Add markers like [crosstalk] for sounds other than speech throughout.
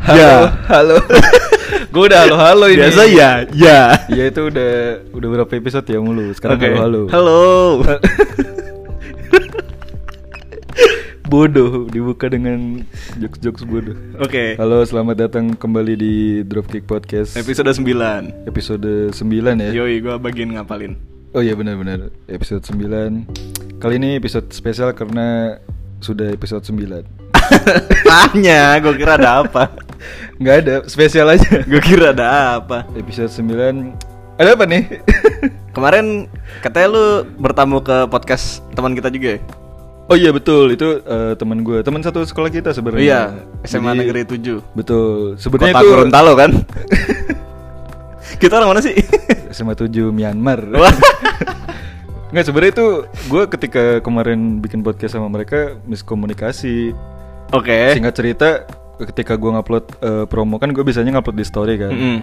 Halo, Ya. halo. gue udah halo halo ini. Biasa ya, ya. [laughs] Ya itu udah udah berapa episode ya mulu. Sekarang Oke. halo halo. Halo. [laughs] Bodoh dibuka dengan jokes-jokes bodoh. Oke. Halo, selamat datang kembali di Dropkick Podcast Episode 9. episode 9 ya. Yoi, gua bagian ngapalin. Oh iya benar-benar episode 9. Kali ini episode spesial karena sudah episode 9. [laughs] Tanya, gua kira ada apa. [laughs] Nggak ada, spesial aja. Gua kira ada apa. Episode 9. Ada apa nih? [laughs] Kemarin katanya lu bertamu ke podcast teman kita juga ya? oh iya betul, itu eh, teman gue, teman satu sekolah kita sebenarnya. Iya, SMA Jadi- Negeri 7. Betul. Sebenarnya Kota itu Gorontalo [laughs] kan? [laughs] kita orang mana sih? SMA 7 Myanmar. Wah. Nggak sebenarnya itu gue ketika kemarin bikin podcast sama mereka miskomunikasi. [laughs] Oke. Singkat cerita, ketika gue ngupload eh, promo kan gue biasanya ngupload di story kan. Mm-mm.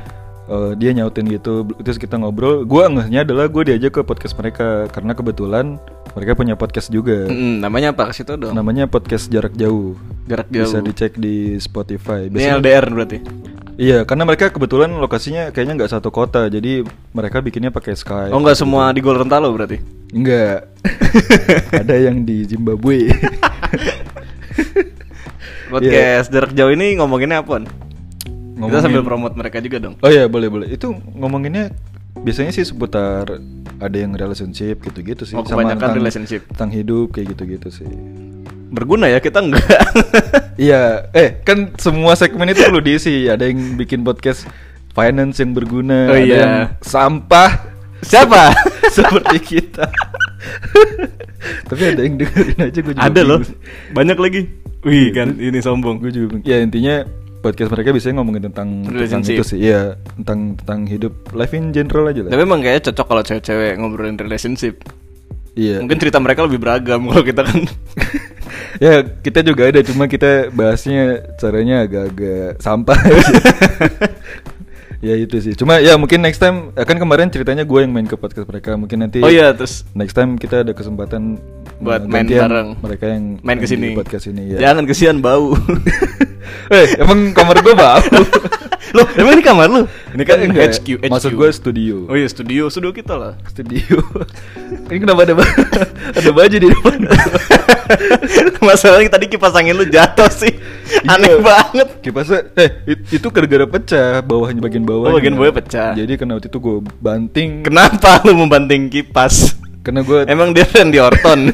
Eh, dia nyautin gitu, bl- terus kita ngobrol. Gue ngehnya adalah gue diajak ke podcast mereka karena kebetulan mereka punya podcast juga. Mm-mm, namanya apa? Kasih tau dong. Namanya podcast jarak jauh. Jarak jauh. Bisa dicek di Spotify. Ini LDR berarti. Iya, karena mereka kebetulan lokasinya kayaknya nggak satu kota, jadi mereka bikinnya pakai Skype. Oh, enggak semua di Gorontalo berarti. [laughs] Enggak. Ada yang di Zimbabwe. [laughs] Iya. Podcast jarak jauh ini ngomonginnya apa? An? Kita Ngomongin- sambil promote mereka juga dong. Oh iya, boleh boleh. Itu ngomonginnya biasanya sih seputar ada yang relationship gitu-gitu sih. Oh, kebanyakan relationship. Tentang hidup kayak gitu-gitu sih. Berguna ya kita enggak. [laughs] Iya, eh kan semua segmen itu perlu diisi. Ada yang bikin podcast finance yang berguna, Oh ada iya. yang sampah Siapa? [laughs] seperti kita. Tapi ada yang dengerin aja gue juga. Ada loh. Banyak lagi. Wih kan ini sombong. Gue juga bingung. Ya intinya podcast mereka biasanya ngomongin tentang tentang Relationship. itu sih. Iya, tentang tentang hidup life in general aja lah. Tapi emang kayaknya cocok kalau cewek-cewek ngobrolin relationship. Iya. Mungkin cerita mereka lebih beragam kalau kita kan. [laughs] ya kita juga ada cuma kita bahasnya caranya agak-agak sampah [laughs] aja. ya itu sih cuma ya mungkin next time akan kemarin ceritanya gue yang main ke podcast mereka mungkin nanti [laughs] Oh [laughs] iya, terus next time kita ada kesempatan eh, Buat main gantian bareng. mereka yang main ke di sini. podcast ini ya Jangan kesian bau. [laughs] eh emang kamar gue bau [laughs] Loh, emang ini kamar lu? Ini kan Enggak, HQ, HQ. maksud gue studio Oh iya, studio, studio kita lah. [laughs] studio ini kenapa ada ba- ada baju di [laughs] depan [laughs] Masalahnya tadi kipas angin lu jatuh sih. Aneh Iya. banget. kipasnya eh it- itu gara-gara pecah bawahnya bagian bawah Oh, bagian bawahnya pecah. jadi kena waktu itu gue banting Kenapa lu membanting kipas? karena gue Emang dia Randy [laughs] Orton.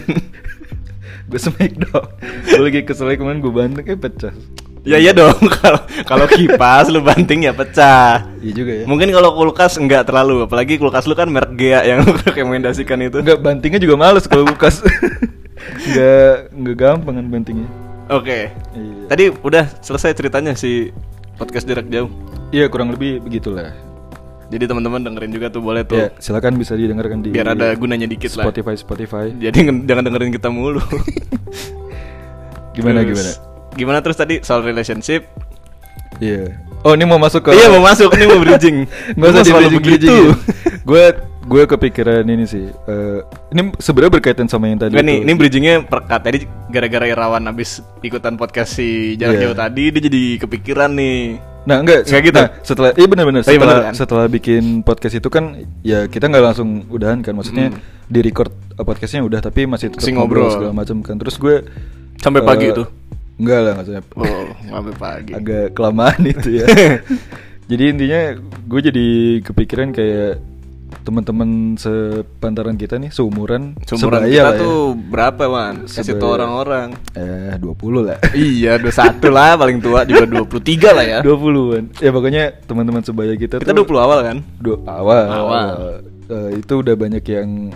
gue smack dong gue lagi kesel kemarin gue banting eh pecah ya iya dong [laughs] kalau kalau kipas lu banting ya pecah. iya juga ya Mungkin kalau kulkas enggak terlalu, apalagi kulkas lu kan merek Gea yang [laughs] lu rekomendasikan itu. nggak bantingnya juga males kalau bukas [laughs] nggak nggak gampang kan bantingnya Oke. iya Tadi udah selesai ceritanya si podcast jarak jauh. iya kurang lebih begitulah Jadi teman-teman dengerin juga tuh boleh tuh. ya silakan bisa didengarkan di Biar ada gunanya dikit lah. Ya. Spotify Spotify Jadi nge- jangan dengerin kita mulu. [laughs] gimana Terus, gimana Gimana terus tadi soal relationship? iya oh ini mau masuk ke Iya mau masuk nih mau [laughs] bridging. Gak usah Gua gitu. selalu dibridging-bridging [laughs] ya. [laughs] Gue gue kepikiran ini sih. eh, ini sebenarnya berkaitan sama yang tadi. Nggak nih, tuh. ini bridgingnya perkat Tadi gara-gara Irawan abis ikutan podcast si Iya. Jarak Jauh tadi Dia jadi kepikiran nih Nah enggak, Nggak gitu? nah, setelah iya benar-benar Tapi setelah bener kan? setelah bikin podcast itu kan ya kita nggak langsung udahan kan maksudnya di record eh, podcastnya udah tapi masih tetap Hmm. Masih ngobrol, ngobrol. segala macam kan terus gue eh, Sampai pagi itu? enggak lah nggak sampai Oh, [laughs] sampai pagi agak kelamaan itu [laughs] ya jadi intinya gue jadi kepikiran kayak teman-teman sepantaran kita nih seumuran sebaya Sumuran kita lah ya. tuh iya berapa man? Kasih Sebaya. tau orang-orang Eh, 20 lah. Iya, 21 lah paling tua juga 23 lah ya 20-an. Ya pokoknya teman-teman sebaya kita, Kita tuh 20 awal kan? du- awal. Awal. Eh, itu udah banyak yang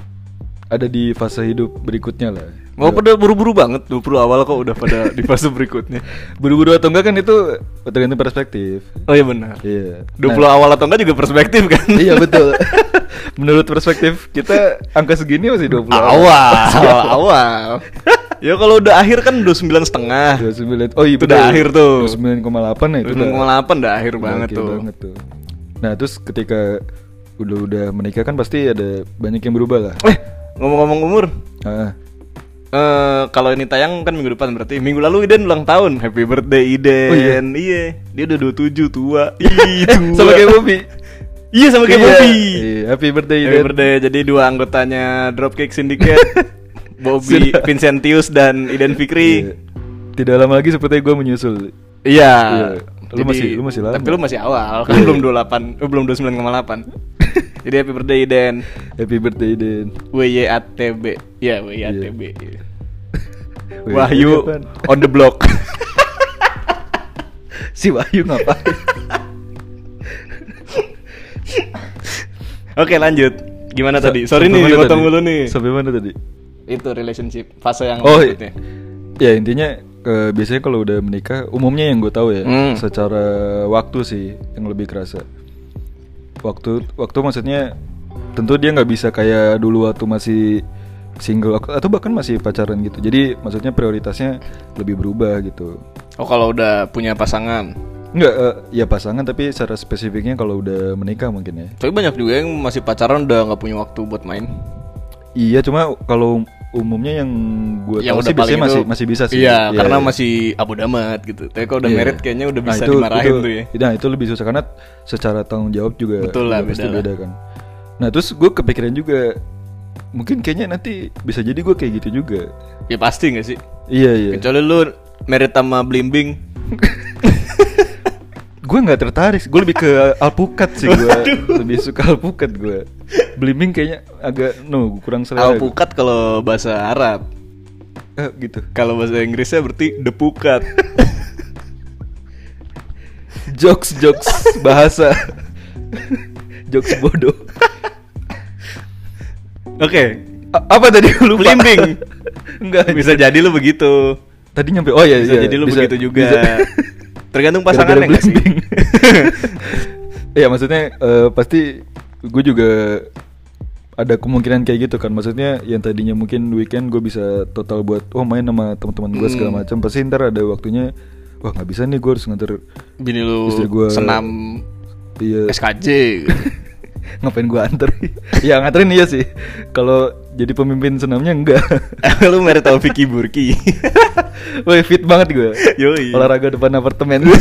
ada di fase hidup berikutnya lah. Mau pada buru-buru banget 20 awal kok udah pada di fase berikutnya Buru-buru atau enggak kan itu tergantung perspektif. Oh iya benar Iya. 20 Nah, awal atau enggak juga perspektif kan? iya betul. [laughs] Menurut perspektif kita angka segini masih 20 awal [laughs] awal ya kalau udah akhir kan 29 setengah 29. Oh iya Itu udah akhir tuh. 29,8 ya itu. udah- 29,8 udah akhir banget Oke tuh tuh. Nah, terus ketika udah udah menikah kan pasti ada banyak yang berubah lah. eh ngomong-ngomong umur Ah, eh, kalau ini tayang kan minggu depan berarti minggu lalu Iden ulang tahun. Happy birthday Iden. Oh, iya. Eh, Iya. Dia udah 27 [laughs] tua. Ih, tua. Sama kayak Bobby. Iya sama kayak Iya. Bobby. Iya, happy birthday, Happy Iden. birthday. Jadi dua anggotanya Dropkick [laughs] Syndicate, Bobby Sudah. Vincentius dan Iden Iya. Fikri. Tidak lama lagi sepertinya gue menyusul. Iya. Iya. Lu masih- lu masih lama. Iya. Tapi lu masih awal, kan belum 28, eh, belum [laughs] 29,8. Jadi happy birthday Iden. Happy birthday Iden. WYATB. Ya, Iya. WYATB. iya. Wih, Wahyu apaan? on the block. [laughs] si Wahyu ngapain? Oke, lanjut. Gimana tadi? Sa- Sorry sampai nih, mana dipotong tadi? mulu nih. Sampai mana tadi? Itu relationship fase yang Oh, lanjutnya. Ya intinya eh, biasanya kalau udah menikah umumnya yang gue tahu ya Hmm. secara waktu sih yang lebih kerasa. Waktu waktu maksudnya tentu dia nggak bisa kayak dulu waktu masih single ak- atau bahkan masih pacaran gitu. Jadi maksudnya prioritasnya lebih berubah gitu. Oh, kalau udah punya pasangan. Enggak eh, ya pasangan tapi secara spesifiknya kalau udah menikah mungkin ya. Tapi banyak juga yang masih pacaran udah nggak punya waktu buat main. Iya cuma kalau umumnya yang gue Yang tahu udah sih paling biasanya itu- masih masih bisa sih. Iya, Iya, karena iya. masih abu damat gitu. Tapi kalau udah Iya. married kayaknya udah Nah, bisa dimarahin tuh ya. Nah itu lebih susah karena secara tanggung jawab juga Betul lah, juga pasti beda lah. beda kan. Nah terus gue kepikiran juga mungkin kayaknya nanti bisa jadi gue kayak gitu juga. Ya pasti nggak sih? Iya iya. Kecuali lu married sama blimbing. Gue nggak tertarik, gue lebih [laughs] ke alpukat sih gue. lebih suka alpukat gue. Blimbing kayaknya agak no kurang selera. gua. Alpukat kalau bahasa Arab. Eh, gitu. Kalau bahasa Inggrisnya berarti [laughs] depukat. Jokes jokes bahasa. jokes bodoh. Oke. A- apa tadi [laughs] lu lupa? Blimbing. Enggak. Bisa jadi lu begitu. Tadi nyampe. Oh iya bisa iya. jadi lu bisa- begitu juga. bisa. Tergantung Gara-gara pasangannya nggak sih? [laughs] blimbing. Iya maksudnya eh, pasti gue juga ada kemungkinan kayak gitu kan maksudnya yang tadinya mungkin weekend gue bisa total buat oh main sama teman-teman gue segala Hmm. macam pasti ntar ada waktunya wah nggak bisa nih gue harus nganter Bini lu Istri gua- senam iya SKJ. [laughs] ngapain gue anter [laughs] ya nganterin iya sih kalau jadi pemimpin senamnya enggak [laughs] [laughs] lu married sama Vicky Burki. Woi fit banget gue Yoi. olahraga depan apartemen [laughs]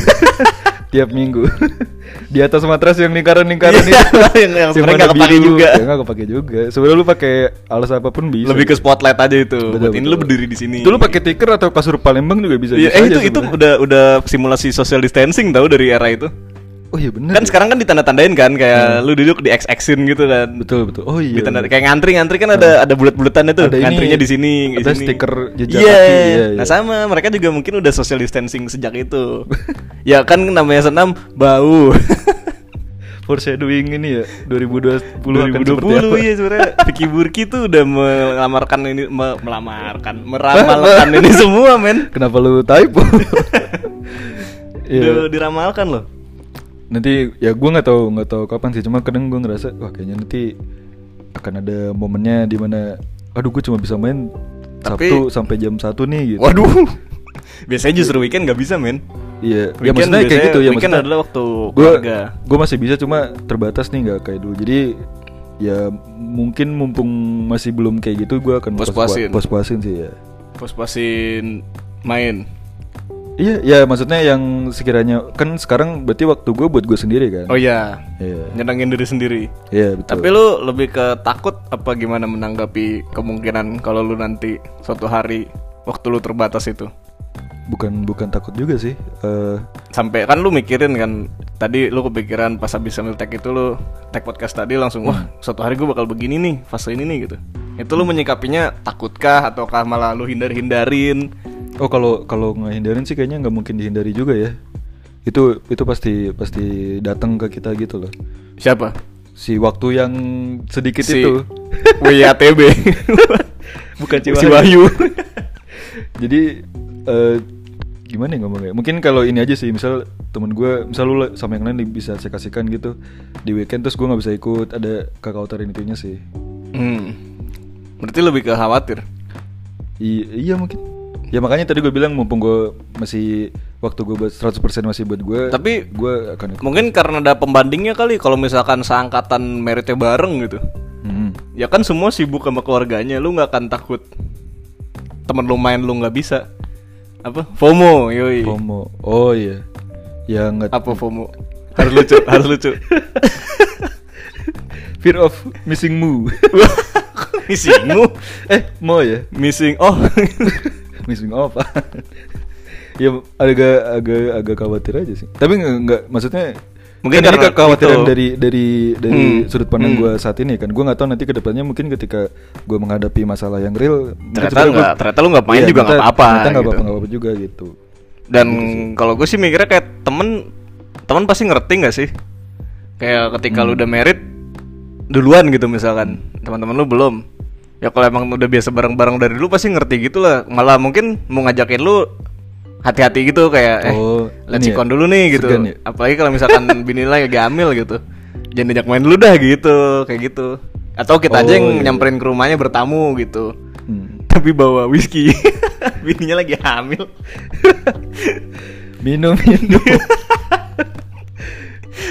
tiap minggu [laughs] di atas matras yang lingkaran-lingkaran Iya, itu [laughs] yang- yang sebenarnya Iya, nggak warna kepake biru. juga. ya, nggak kepake juga sebenarnya lu pakai alas apapun bisa Lebih ke spotlight aja itu. Betul, Buat ini betul. lu berdiri di sini. itu lu pakai tiker atau kasur Palembang juga bisa, Iya, bisa eh aja itu itu sebenarnya. udah udah simulasi social distancing tau dari era itu. oh iya bener Kan ya. sekarang kan ditanda-tandain kan kayak lu duduk di X Xin gitu kan. betul betul oh iya Hmm. Ditanda kayak ngantri-ngantri kan ada ada bulat-bulatannya tuh. Ada ini, ya. Ngantrinya di sini, di ada sini. stiker jejak Iya. kaki, iya, iya. Nah, sama mereka juga mungkin udah social distancing sejak itu. [laughs] ya kan namanya senam [laughs] bau. foreshadowing ini ya 2020 akan seperti 2020 apa. ya sebenarnya Vicky Burki tuh udah melamarkan ini me- [laughs] melamarkan meramalkan ini semua men. kenapa lu [laughs] typo Iya. Udah diramalkan loh. nanti ya gue nggak tahu nggak tahu kapan sih cuma kadang gue ngerasa wah kayaknya nanti akan ada momennya di mana aduh gue cuma bisa main Tapi- Sabtu sampai jam satu nih gitu Waduh. Biasanya justru weekend nggak bisa men. iya ya Weekend maksudnya kayak biasanya- gitu ya weekend maksudnya adalah waktu gue keluarga. gue masih bisa cuma terbatas nih nggak kayak dulu jadi ya mungkin mumpung masih belum kayak gitu gue akan Puas-puasin. pos puasin sih ya Pos-posin main. iya ya maksudnya yang sekiranya kan sekarang berarti waktu gue buat gue sendiri kan Oh iya. iya Nyenengin diri sendiri. iya betul Tapi lu lebih ke takut apa gimana menanggapi kemungkinan kalau lu nanti suatu hari waktu lu terbatas itu? bukan bukan takut juga sih Eh, Sampai kan lu mikirin kan tadi lu kepikiran pas habis sambil tag itu lu tag podcast tadi langsung Hmm. wah suatu hari gue bakal begini nih fase ini nih gitu. Itu lu menyikapinya takutkah ataukah malah lu hindar-hindarin? Oh kalau kalau ngehindarin sih kayaknya nggak mungkin dihindari juga ya. Itu itu pasti pasti datang ke kita gitu loh. Siapa? Si waktu yang sedikit Si itu. [laughs] WATB. [laughs] Bukan si si Wahyu. Wahyu. [laughs] Jadi eh, gimana ya ngomongnya? Mungkin kalau ini aja sih misal temen gue misal lu lah- sama yang lain bisa kasihkan gitu di weekend terus gue nggak bisa ikut ada kakautarin itunya sih. Hmm. Berarti lebih ke khawatir. I- iya mungkin. Ya makanya tadi gue bilang mumpung gue masih waktu gue buat 100% masih buat gue. Tapi- gue akan ikut. Mungkin karena ada pembandingnya kali kalau misalkan seangkatan meritnya bareng gitu. Hmm. Ya kan semua sibuk sama keluarganya, lu nggak akan takut temen lu main lu nggak bisa apa FOMO yoi FOMO. Oh iya. Ya nggak apa FOMO harus lucu harus lucu Fear of missing mu. [laughs] missing mu [laughs] eh, mo ya. missing oh [laughs] missing apa? [laughs] ya agak agak agak khawatir aja sih. Tapi nggak nggak- maksudnya Mungkin kan ini karena kekhawatiran itu. dari dari dari Hmm. sudut pandang Hmm. gua saat ini kan. Gua nggak tahu nanti kedepannya mungkin ketika gua menghadapi masalah yang real mungkin Ternyata sebenarnya nggak- ternyata lu nggak main Iya, juga nggak ternyata- apa-apa, Ternyata nggak gitu. apa-apa nggak apa-apa juga gitu. dan kalau gue sih mikirnya kayak temen temen pasti ngerti nggak sih kayak ketika Hmm. lu udah merit duluan gitu misalkan teman-teman lu belum ya kalau emang udah biasa bareng-bareng dari dulu pasti ngerti gitu lah malah mungkin mau ngajakin lu hati-hati gitu kayak eh Oh, let's ini ya? sikon dulu nih gitu Segan ya? apalagi kalau [laughs] misalkan bini lu lagi gamil gitu jangan diajak main dulu dah gitu kayak gitu atau kita aja Oh, yang iya. nyamperin ke rumahnya bertamu gitu Hmm. tapi bawa whisky [laughs] bininya lagi hamil Minum minum.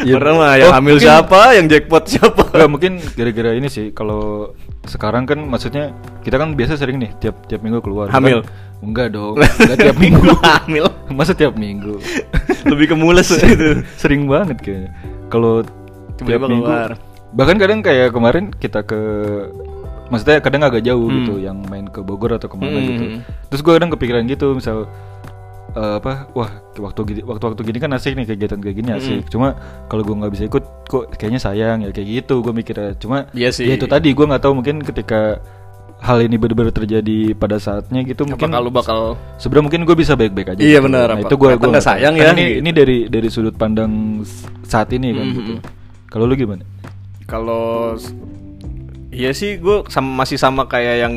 Ya, [laughs] Pernah mah yang oh, hamil mungkin- siapa, yang jackpot siapa. [laughs] Nggak, mungkin gara-gara ini sih kalau sekarang kan maksudnya kita kan biasa sering nih tiap tiap minggu keluar. Hamil? Bukan? Enggak dong. Enggak tiap minggu. Oh, [laughs] hamil. Masa tiap minggu? Lebih ke [laughs] [laughs] mules gitu. sering banget kayaknya. Kalau tiap Tiba-tiba minggu keluar. bahkan kadang kayak kemarin kita ke maksudnya kadang agak jauh Hmm. gitu yang main ke Bogor atau kemana Hmm. gitu terus gue kadang kepikiran gitu misal eh, apa wah waktu gini waktu waktu gini kan asik nih kegiatan kayak gini asik Hmm. cuma kalau gue nggak bisa ikut kok kayaknya sayang ya kayak gitu gue mikirnya cuma Iya sih. ya itu tadi gue nggak tahu mungkin ketika hal ini benar-benar terjadi pada saatnya gitu mungkin Mungkin kalau bakal sebenarnya mungkin gue bisa baik-baik aja gitu. Iya, benar. nah, itu Apa- gue kata nggak sayang ya, ini, gitu. ini dari dari sudut pandang s- saat ini kan Mhm. gitu kalau lu gimana kalau Iya sih, gue sama, masih sama kayak yang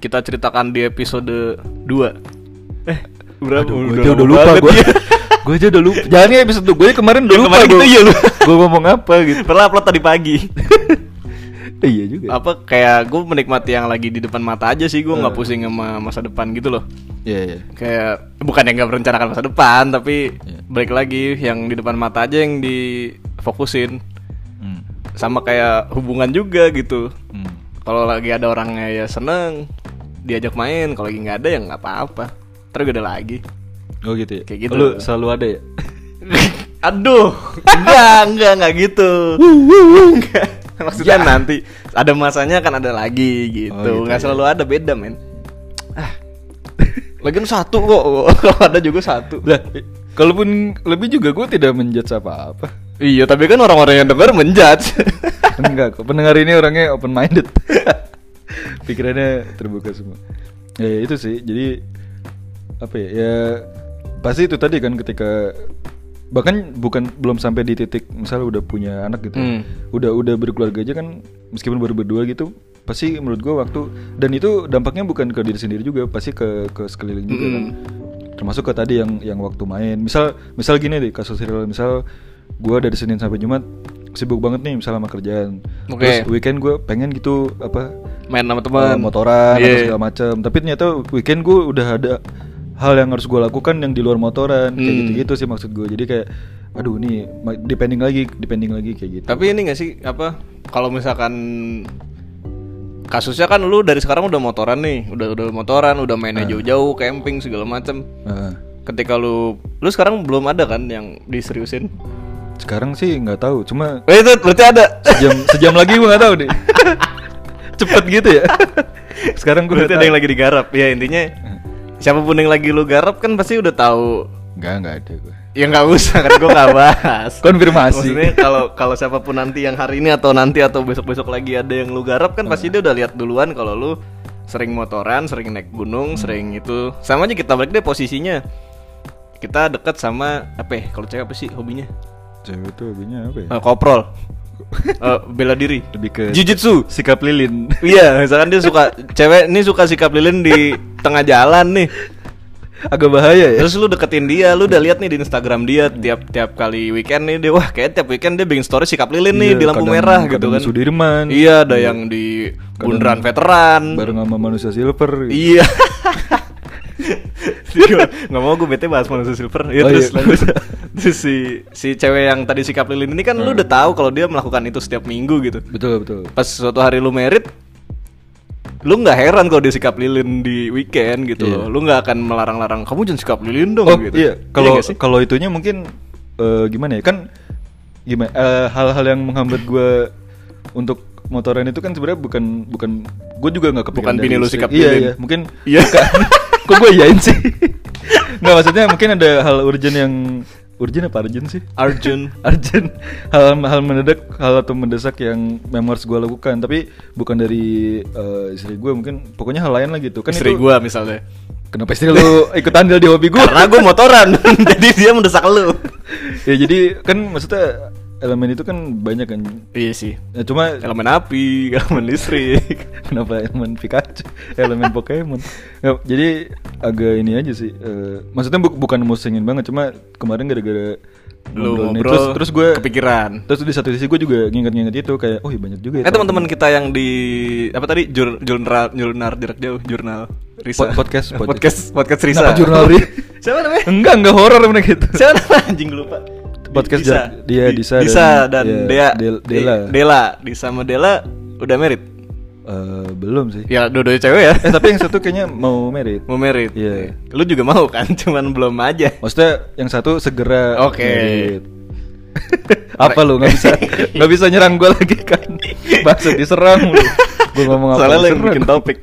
kita ceritakan di episode 2 Eh, berapa? Aduh, gue aja udah lupa gue [laughs] gue aja udah [laughs] lupa jangan ya episode gue kemarin udah Yang lupa kemarin gue itu iya [laughs] lu. gue ngomong apa gitu Pernah upload tadi [laughs] pagi. Eh, iya juga Apa kayak gue menikmati yang lagi di depan mata aja sih, gue nggak pusing sama masa depan gitu loh. iya iya kayak bukan yang nggak merencanakan masa depan tapi Iya. balik lagi yang di depan mata aja yang difokusin Hmm. sama kayak hubungan juga gitu Hmm. kalau lagi ada orangnya ya seneng diajak main kalau lagi nggak ada ya nggak apa-apa terus ada lagi oh gitu ya Kayak gitu. lu selalu ada ya [laughs] aduh enggak enggak enggak gitu Enggak. [laughs] maksudnya nanti ada masanya kan ada Ya. Oh, lagi gitu gitu, nggak iya. selalu ada beda men [laughs] ah lagian satu kok [laughs] kalau ada juga satu lah eh, [laughs] kalaupun lebih juga gue tidak menjudge apa apa Iya, tapi kan orang-orang yang denger menjudge. enggak kok pendengar ini orangnya open minded [laughs] pikirannya terbuka semua ya ya, itu sih jadi apa ya ya pasti itu tadi kan ketika bahkan bukan belum sampai di titik misalnya udah punya anak gitu ya. Hmm. udah udah berkeluarga aja kan meskipun baru berdua gitu pasti menurut gua waktu dan itu dampaknya bukan ke diri sendiri juga pasti ke ke sekeliling juga kan termasuk ke tadi yang yang waktu main misal misal gini deh kasus real misal gua dari senin sampai jumat sibuk banget nih misalnya sama kerjaan Oke. terus weekend gua pengen gitu apa [laughs] Main sama eh, teman. motoran atau Iya. segala macam tapi ternyata weekend gue udah ada hal yang harus gue lakukan yang di luar motoran kayak Hmm. gitu gitu sih maksud gue jadi kayak aduh nih ma- depending lagi depending lagi kayak gitu Tapi ini gak sih apa? Kalau misalkan kasusnya kan lu dari sekarang udah motoran nih, udah udah motoran, udah mainnya jauh-jauh, camping segala macem. Nah, Ketika lu lu sekarang belum ada kan yang diseriusin? sekarang sih nggak tahu cuma Eh, itu berarti ada. [laughs] sejam sejam lagi gue nggak tahu deh cepet gitu [laughs] ya sekarang gue Berarti ada yang lagi digarap. Ya intinya Nah, siapapun yang lagi lu garap kan pasti udah tahu nggak nggak ada gue Ya nggak usah kan gue nggak bahas. [laughs] Konfirmasi. Maksudnya kalau kalau siapapun nanti yang hari ini atau nanti atau besok besok lagi ada yang lu garap kan pasti dia udah lihat duluan kalau lu sering motoran, sering naik Hmm. gunung, sering itu sama aja kita balik deh posisinya. Kita dekat sama apa? ya? Kalau cewek apa sih hobinya? cewek tuh hobinya apa ya Eh, koprol, [laughs] Eh, bela diri, lebih ke jujutsu. sikap lilin Iya, misalkan dia suka cewek ini suka sikap lilin di tengah jalan nih. agak bahaya ya Terus lu deketin dia, lu udah lihat nih di Instagram dia tiap tiap kali weekend nih dia wah kayak tiap weekend dia bikin story sikap lilin Iya, nih di lampu kadang- merah gitu kadang kan. di Sudirman. Iya, ada yang di bundaran veteran. bareng sama manusia silver gitu. Iya. [laughs] nggak mau gue bete bahas manusia silver ya, Oh, terus, iya. lanjut. Terus si si cewek yang tadi sikap lilin ini kan lu Hmm. udah tahu kalau dia melakukan itu setiap minggu gitu betul betul pas suatu hari lu merit lu nggak heran kalau dia sikap lilin di weekend gitu Iya. loh. Lu nggak akan melarang-larang kamu jangan sikap lilin dong oh gitu. iya kalau nggak sih? kalau itunya mungkin eh, gimana ya kan gimana eh, hal-hal yang menghambat gue untuk motoran itu kan sebenarnya bukan bukan gue juga nggak kepikiran Bukan dari bini lu istri. sikap iya, lilin. iya mungkin [laughs] Iya. bukan. kok gue iyain sih [laughs] nggak maksudnya mungkin ada hal urgent yang urgent apa urgent sih [laughs] Arjun urgent hal hal mendadak hal atau mendesak yang memang harus gue lakukan tapi bukan dari eh, istri gue mungkin pokoknya hal lain lah gitu kan istri itu- gua misalnya. kenapa istri [laughs] lu ikut andil di hobi gue Karena gua motoran, [laughs] jadi dia mendesak lu. [laughs] ya jadi kan maksudnya elemen itu kan banyak kan Iya sih. Ya, cuma Elemen api, elemen listrik. kenapa elemen Pikachu elemen Pokemon Ya, jadi agak ini aja sih eh, maksudnya bu- bukan musingin banget cuma kemarin gara-gara ngobrol Lu nih, ngobrol, terus terus gue kepikiran. terus di satu sisi gue juga nginget-nginget itu kayak oh iya banyak juga ya Eh teman-teman kita yang di apa tadi jur, jurnal jurnal jarak jauh jurnal Risa Pod- podcast, Eh, podcast. podcast podcast Risa Kenapa jurnal Ri- [laughs] siapa namanya enggak enggak horor mana gitu siapa namanya anjing gue lupa Podcast Disa. jarak- dia Di- Disa Disa dan- dan, iya, Dea Del- Dela. Di- Dela Disa sama Dela udah merit Eh, belum sih ya dua-duanya cewek ya [laughs] eh tapi yang satu kayaknya mau merit mau merit Iya. lu juga mau kan [laughs] cuman belum aja Maksudnya yang satu segera Oke. merit. apa lu nggak [laughs] bisa nggak bisa nyerang gue lagi kan Maksud diserang lu gue ngomong apa soalnya lu yang diserang. bikin topik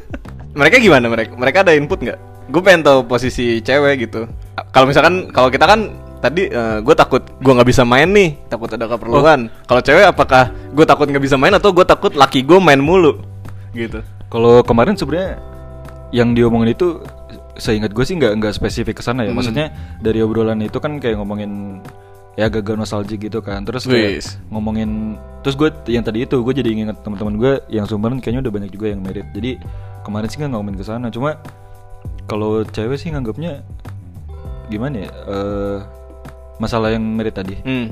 [laughs] mereka gimana mereka mereka ada input nggak gue pengen tahu posisi cewek gitu A- kalau misalkan kalau kita kan tadi gue takut gue nggak bisa main nih takut ada keperluan Oh. kalau cewek apakah gue takut nggak bisa main atau gue takut laki gue main mulu gitu kalau kemarin sebenarnya yang diomongin itu seingat gue sih nggak nggak spesifik ke sana ya maksudnya dari obrolan itu kan kayak ngomongin ya agak-agak nostalgia gitu kan terus kayak Wis. ngomongin terus gue yang tadi itu gue jadi inget teman-teman gue yang sumberan kayaknya udah banyak juga yang merit jadi kemarin sih nggak ngomongin ke sana cuma kalau cewek sih nganggapnya gimana ya eh, masalah yang merit tadi hmm.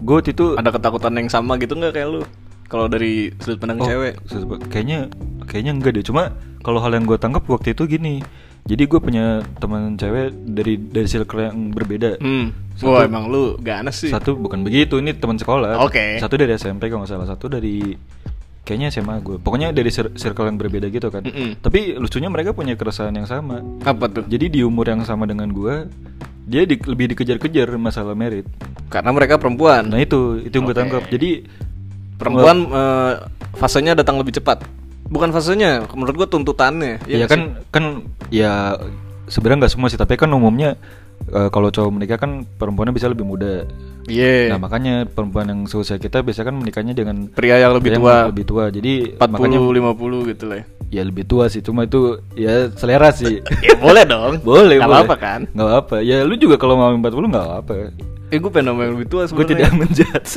gue waktu itu ada ketakutan yang sama gitu nggak kayak lu kalau dari sudut Oh, pandang cewek sebe- Kayaknya kayaknya enggak deh. Cuma kalau hal yang gue tangkap waktu itu gini. Jadi gue punya teman cewek dari dari circle yang berbeda. hmm Satu- wah emang lu ganas sih Satu bukan begitu, ini teman sekolah. Oke. Satu dari SMP kalau nggak salah, satu dari kayaknya SMA gue. Pokoknya dari cir- circle yang berbeda gitu kan. Mm-mm. Tapi lucunya mereka punya keresahan yang sama. apa tuh Jadi di umur yang sama dengan gue, dia di- lebih dikejar-kejar masalah merit. karena mereka perempuan Nah itu itu yang gue Kan. Oke. tangkap. Jadi perempuan eh, fasenya datang lebih cepat bukan fasenya menurut gua tuntutannya Iya nggak kan sih? kan ya sebenarnya nggak semua sih tapi kan umumnya eh, kalau cowok menikah kan perempuannya bisa lebih muda. iya Nah makanya perempuan yang seusia kita biasanya kan menikahnya dengan pria yang lebih iya, yang tua lebih tua. Jadi 40 makanya 50 gitu lah ya. ya lebih tua sih cuma itu ya selera sih. [laughs] ya boleh dong boleh Nggak boleh. apa-apa kan Nggak apa. Ya lu juga kalau mau 40 nggak apa. eh gue pengen nama yang lebih tua Gue sebenarnya tidak [laughs] menjudge.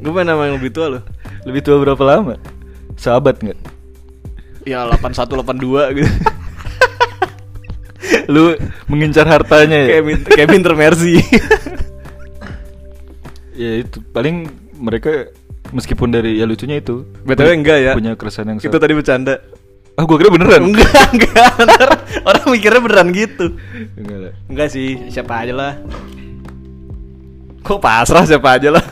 gue pengen nama yang lebih tua loh lebih tua berapa lama? Sahabat nggak? ya 81 82 [laughs] gitu Lu mengincar hartanya ya? kayak Min- kayak Minter Mercy Ya itu paling mereka meskipun dari ya lucunya itu. [laughs] btw punya- enggak ya Punya keresahan yang itu sama. tadi bercanda Ah gua kira beneran. enggak [laughs] enggak Ntar orang mikirnya beneran gitu Enggak lah. Enggak sih, siapa aja lah. Kok pasrah siapa aja lah.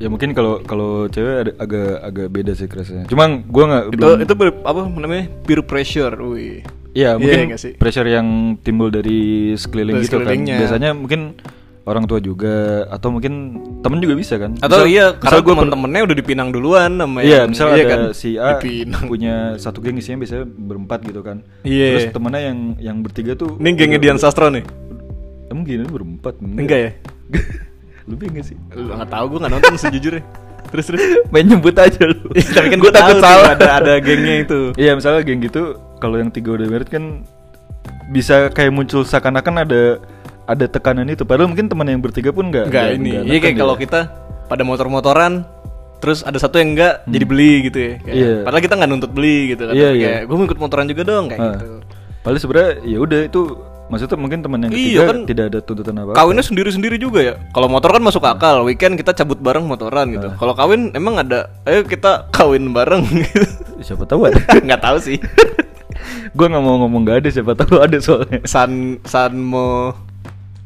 Ya mungkin kalau kalau cewek ada, agak agak beda sih keresahannya. Cuma gua nggak itu itu ber- apa namanya? peer pressure. Wih. Iya Iya, mungkin nggak sih? pressure yang timbul dari sekeliling Dari gitu kan. sekelilingnya. Biasanya mungkin orang tua juga atau mungkin temen juga bisa kan. Atau Misal- iya, misal karena gua gue temen-temennya udah dipinang duluan sama Iya, yang- kan? misal ada si A Dipinang. punya satu geng isinya biasanya berempat gitu kan. Iya. Terus temennya yang yang bertiga tuh Ini gengnya Iya. Dian Sastro nih. Emang gini berempat? Enggak ya? [laughs] Lu bingung gak sih? Lu nggak tahu gue nggak nonton [laughs] sejujurnya. Terus terus. Main nyebut aja lu. Ih, Tapi kan Gua gue takut ada ada gengnya itu. Iya misalnya geng gitu kalau yang tiga udah merit kan bisa kayak muncul seakan-akan ada ada tekanan itu padahal mungkin teman yang bertiga pun nggak Enggak nggak- ini. nggak Iya neken kayak ya. kalau kita pada motor-motoran terus ada satu yang enggak jadi beli gitu ya. Kayak, Hmm. Iya. Padahal kita nggak nuntut beli gitu kan. Iya, Tapi iya. kayak gue mau ikut motoran juga dong kayak Ah. gitu. padahal sebenarnya ya udah itu maksudnya mungkin teman yang Iya, ketiga kan. tidak ada tuntutan apa Kawinnya sendiri-sendiri juga ya. Kalau motor kan masuk akal, weekend kita cabut bareng motoran gitu. Ah. Kalau kawin emang ada, ayo kita kawin bareng [laughs] gitu. siapa tahu [laughs] ada Nggak tahu [laughs] sih. gue nggak mau ngomong nggak ada siapa tahu ada soalnya Sun Sunmo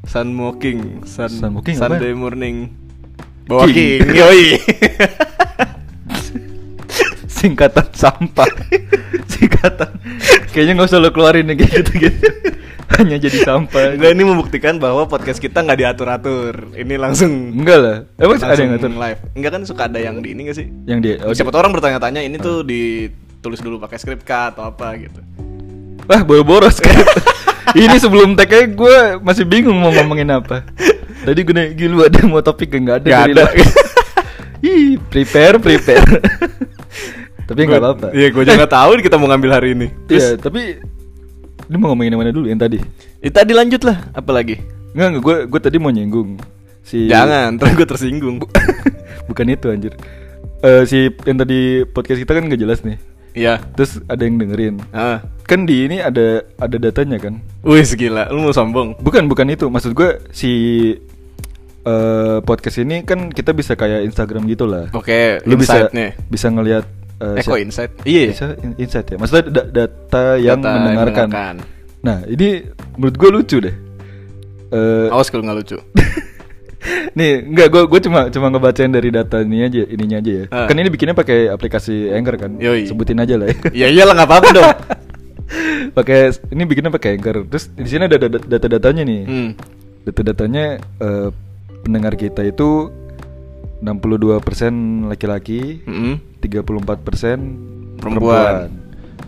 Sunmo King, Sun, Sunmo King ya? Sunday morning. Bawa King. King, yoi. [laughs] singkatan [laughs] sampah singkatan kayaknya nggak usah lo keluarin yang kayak gitu [laughs] gitu hanya jadi sampah Enggak ini membuktikan bahwa podcast kita nggak diatur-atur. Ini langsung enggak lah emang langsung Eh, ada yang ngatur live. Enggak kan suka ada yang di ini gak sih? yang dia oh, Siapa tau orang bertanya-tanya ini tuh ditulis dulu pakai skrip kah atau apa gitu. wah [laughs] boros kan ini sebelum tag nya gue masih bingung mau ngomongin apa tadi gue nanya gila ada mau topik nggak ada Nggak dari ada. [laughs] lo." Ih, prepare prepare tapi nggak apa-apa Eh, Iya, gue [laughs] juga nggak tahu kita mau ngambil hari ini. Iya, tapi ini mau ngomongin yang mana dulu yang tadi? Eh, tadi lanjut lah, apalagi? Enggak, enggak gue gue tadi mau nyinggung si Jangan, terus gue tersinggung. [laughs] bukan itu anjir. Eh si yang tadi podcast kita kan nggak jelas nih. Iya. Terus ada yang dengerin. Ah. Kan di ini ada ada datanya kan? Wih, gila. Lu mau sombong? Bukan bukan itu. Maksud gue si eh podcast ini kan kita bisa kayak Instagram gitu lah. Oke, Lu bisa insight-nya. bisa ngelihat eh, Eko siap- Insight. Iya. Bisa in- insight ya. Maksudnya da- data yang Data yang mendengarkan. mendengarkan. Nah, ini menurut gue lucu deh. Eh, Awas kalau nggak lucu. [laughs] nih enggak gue gue cuma cuma ngebacain dari data ini aja ininya aja ya Ah. kan ini bikinnya pakai aplikasi Anchor kan Yoi. sebutin aja [laughs] lah ya ya iyalah nggak apa-apa dong. [laughs] pakai ini bikinnya pakai Anchor terus di sini ada data- data-datanya nih Hmm. data-datanya eh, pendengar kita itu 62% laki-laki Mm-mm. 34% Hmm. Perempuan.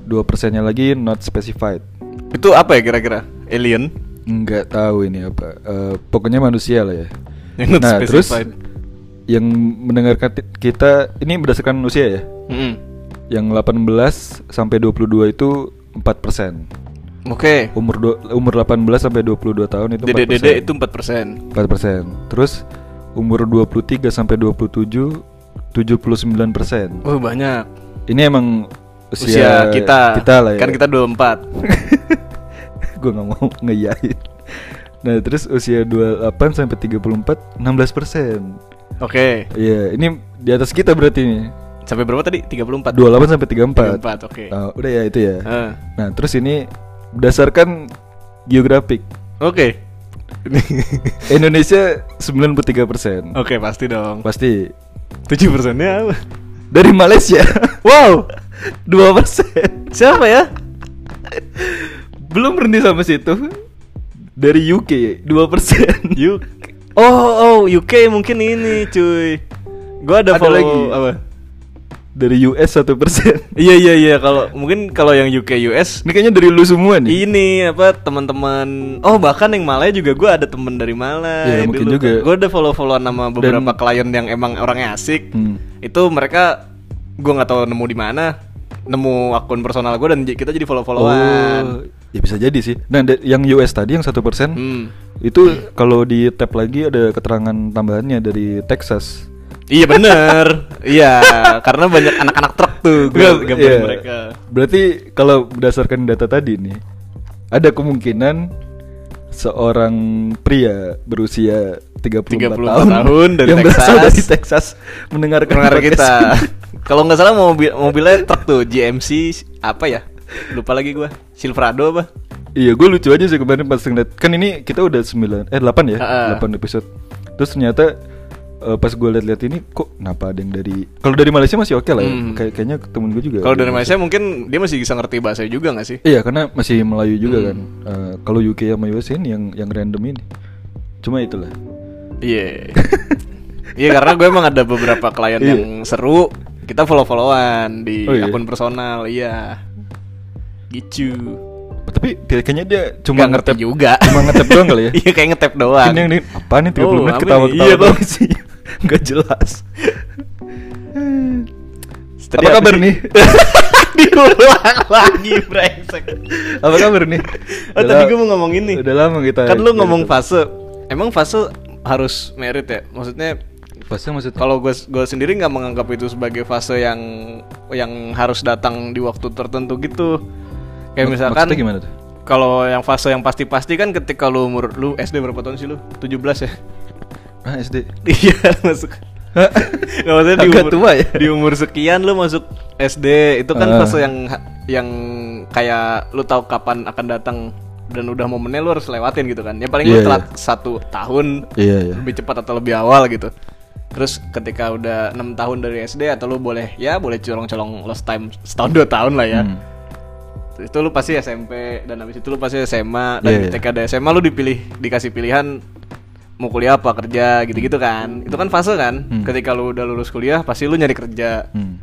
dua persennya lagi not specified Itu apa ya kira-kira? Alien? nggak tahu ini apa Eh, pokoknya manusia lah ya Yang not nah terus specified. yang mendengarkan ti- kita ini berdasarkan usia ya Mm-mm. yang 18 sampai 22 itu 4 persen Oke. umur du- umur 18 sampai 22 tahun Oh, itu 4 Dede-dede itu 4%. 4 terus umur 23 sampai 27 79 persen Oh, banyak. ini emang usia, Usia, kita. lah ya Kan kita 24. [laughs] gue nggak mau ngeyain nah terus usia 28 sampai 34 16 persen [laughs] Oke. Iya, ini di atas kita berarti nih. Sampai berapa tadi? 34. 28 sampai 34. 34, oke. Nah, udah ya itu ya. Ah. Nah, terus ini berdasarkan geografik Oke. Indonesia 93%. [laughs] Oke, pasti dong. Pasti 7%-nya apa? dari Malaysia. [laughs] Wow. [laughs] 2%. Siapa ya? Belum berhenti sampai situ. Dari UK 2%. Yuk. Oh, oh, UK mungkin ini, cuy. Gua ada, Ada follow lagi. apa? Dari US 1%. Iya, iya, iya, kalau mungkin kalau yang UK US [laughs] Ini kayaknya dari lu semua nih. ini apa teman-teman oh bahkan yang Malaya juga gua ada temen dari Ya, Malaya mungkin dulu. juga. Gua ada follow-followan nama beberapa klien yang emang orangnya asik Hmm. itu mereka gua nggak tahu nemu di mana nemu akun personal gua dan j- kita jadi follow-followan Oh, kan? ya bisa jadi sih. Nah, da- yang US tadi yang 1%. Hmm. Itu kalau di tab lagi ada keterangan tambahannya dari Texas. iya bener iya karena banyak anak-anak truk tuh gua Nggak, gambarin iya. mereka Berarti kalau berdasarkan data tadi nih, ada kemungkinan seorang pria berusia 34, 34 tahun, tahun dari [laughs] yang berasal Texas. dari Texas mendengarkan Pendengar podcast [laughs] kita ini. kalau nggak salah mobil mobilnya truk tuh GMC apa ya lupa lagi gua Silverado apa Iya, gue lucu aja sih kemarin pas ngeliat. Kan ini kita udah 9 eh 8 ya, Ha-ha. 8 episode. Terus ternyata eh, pas gue liat-liat ini kok kenapa ada yang dari kalau dari Malaysia masih oke lah ya. Hmm. Kayak- kayaknya temen gue juga. Kalau ada dari yang Malaysia mungkin dia masih bisa ngerti bahasa juga nggak sih? Iya karena masih Melayu juga Hmm. kan. Eh, kalau UK sama US ini yang yang random ini. Cuma itulah. Iya. Iya karena gue emang ada beberapa klien Iya. yang seru, kita follow-followan di Oh, iya. akun personal, iya. Gitu. Tapi dia- kayaknya dia cuma Nggak ngerti ngetap- juga. Cuma ngetap doang kali ya. [laughs] Iya kayak ngetap doang. Ini yang ini- apa nih 30 Oh, menit apa ketawa-ketawa nih? Iya, doang Bang. [laughs] sih. Nggak jelas. Tadi apa apa kabar sih? nih? [laughs] Diulang lagi brengsek. apa kabar nih? Oh Udah tadi la- gue mau ngomong ini. Udah lama kita. Kan lu ngomong fase. Emang fase harus merit ya? Maksudnya fase maksud Kalau gue gue sendiri nggak menganggap itu sebagai fase yang yang harus datang di waktu tertentu gitu. Kayak Mak- misalkan maksudnya gimana tuh? Kalau yang fase yang pasti-pasti kan ketika lu umur lu SD berapa tahun sih lu? 17 ya. Ah, SD. Iya, [laughs] masuk. [laughs] Nggak maksudnya di Agak umur tua ya. Di umur sekian lu masuk SD, itu kan Ah. fase yang yang kayak lu tahu kapan akan datang dan udah momennya lu harus lewatin gitu kan. Ya paling lu Iya, telat satu tahun Iya, iya. lebih cepat atau lebih awal gitu. Terus ketika udah enam tahun dari SD atau lu boleh ya boleh colong-colong lost time setahun dua tahun lah ya. Hmm. Itu lu pasti SMP dan habis itu lu pasti SMA dan Iya, iya. ketika ada SMA lu dipilih dikasih pilihan mau kuliah apa kerja gitu-gitu kan. Itu kan fase kan. Hmm. Ketika lu udah lulus kuliah pasti lu nyari kerja Hmm.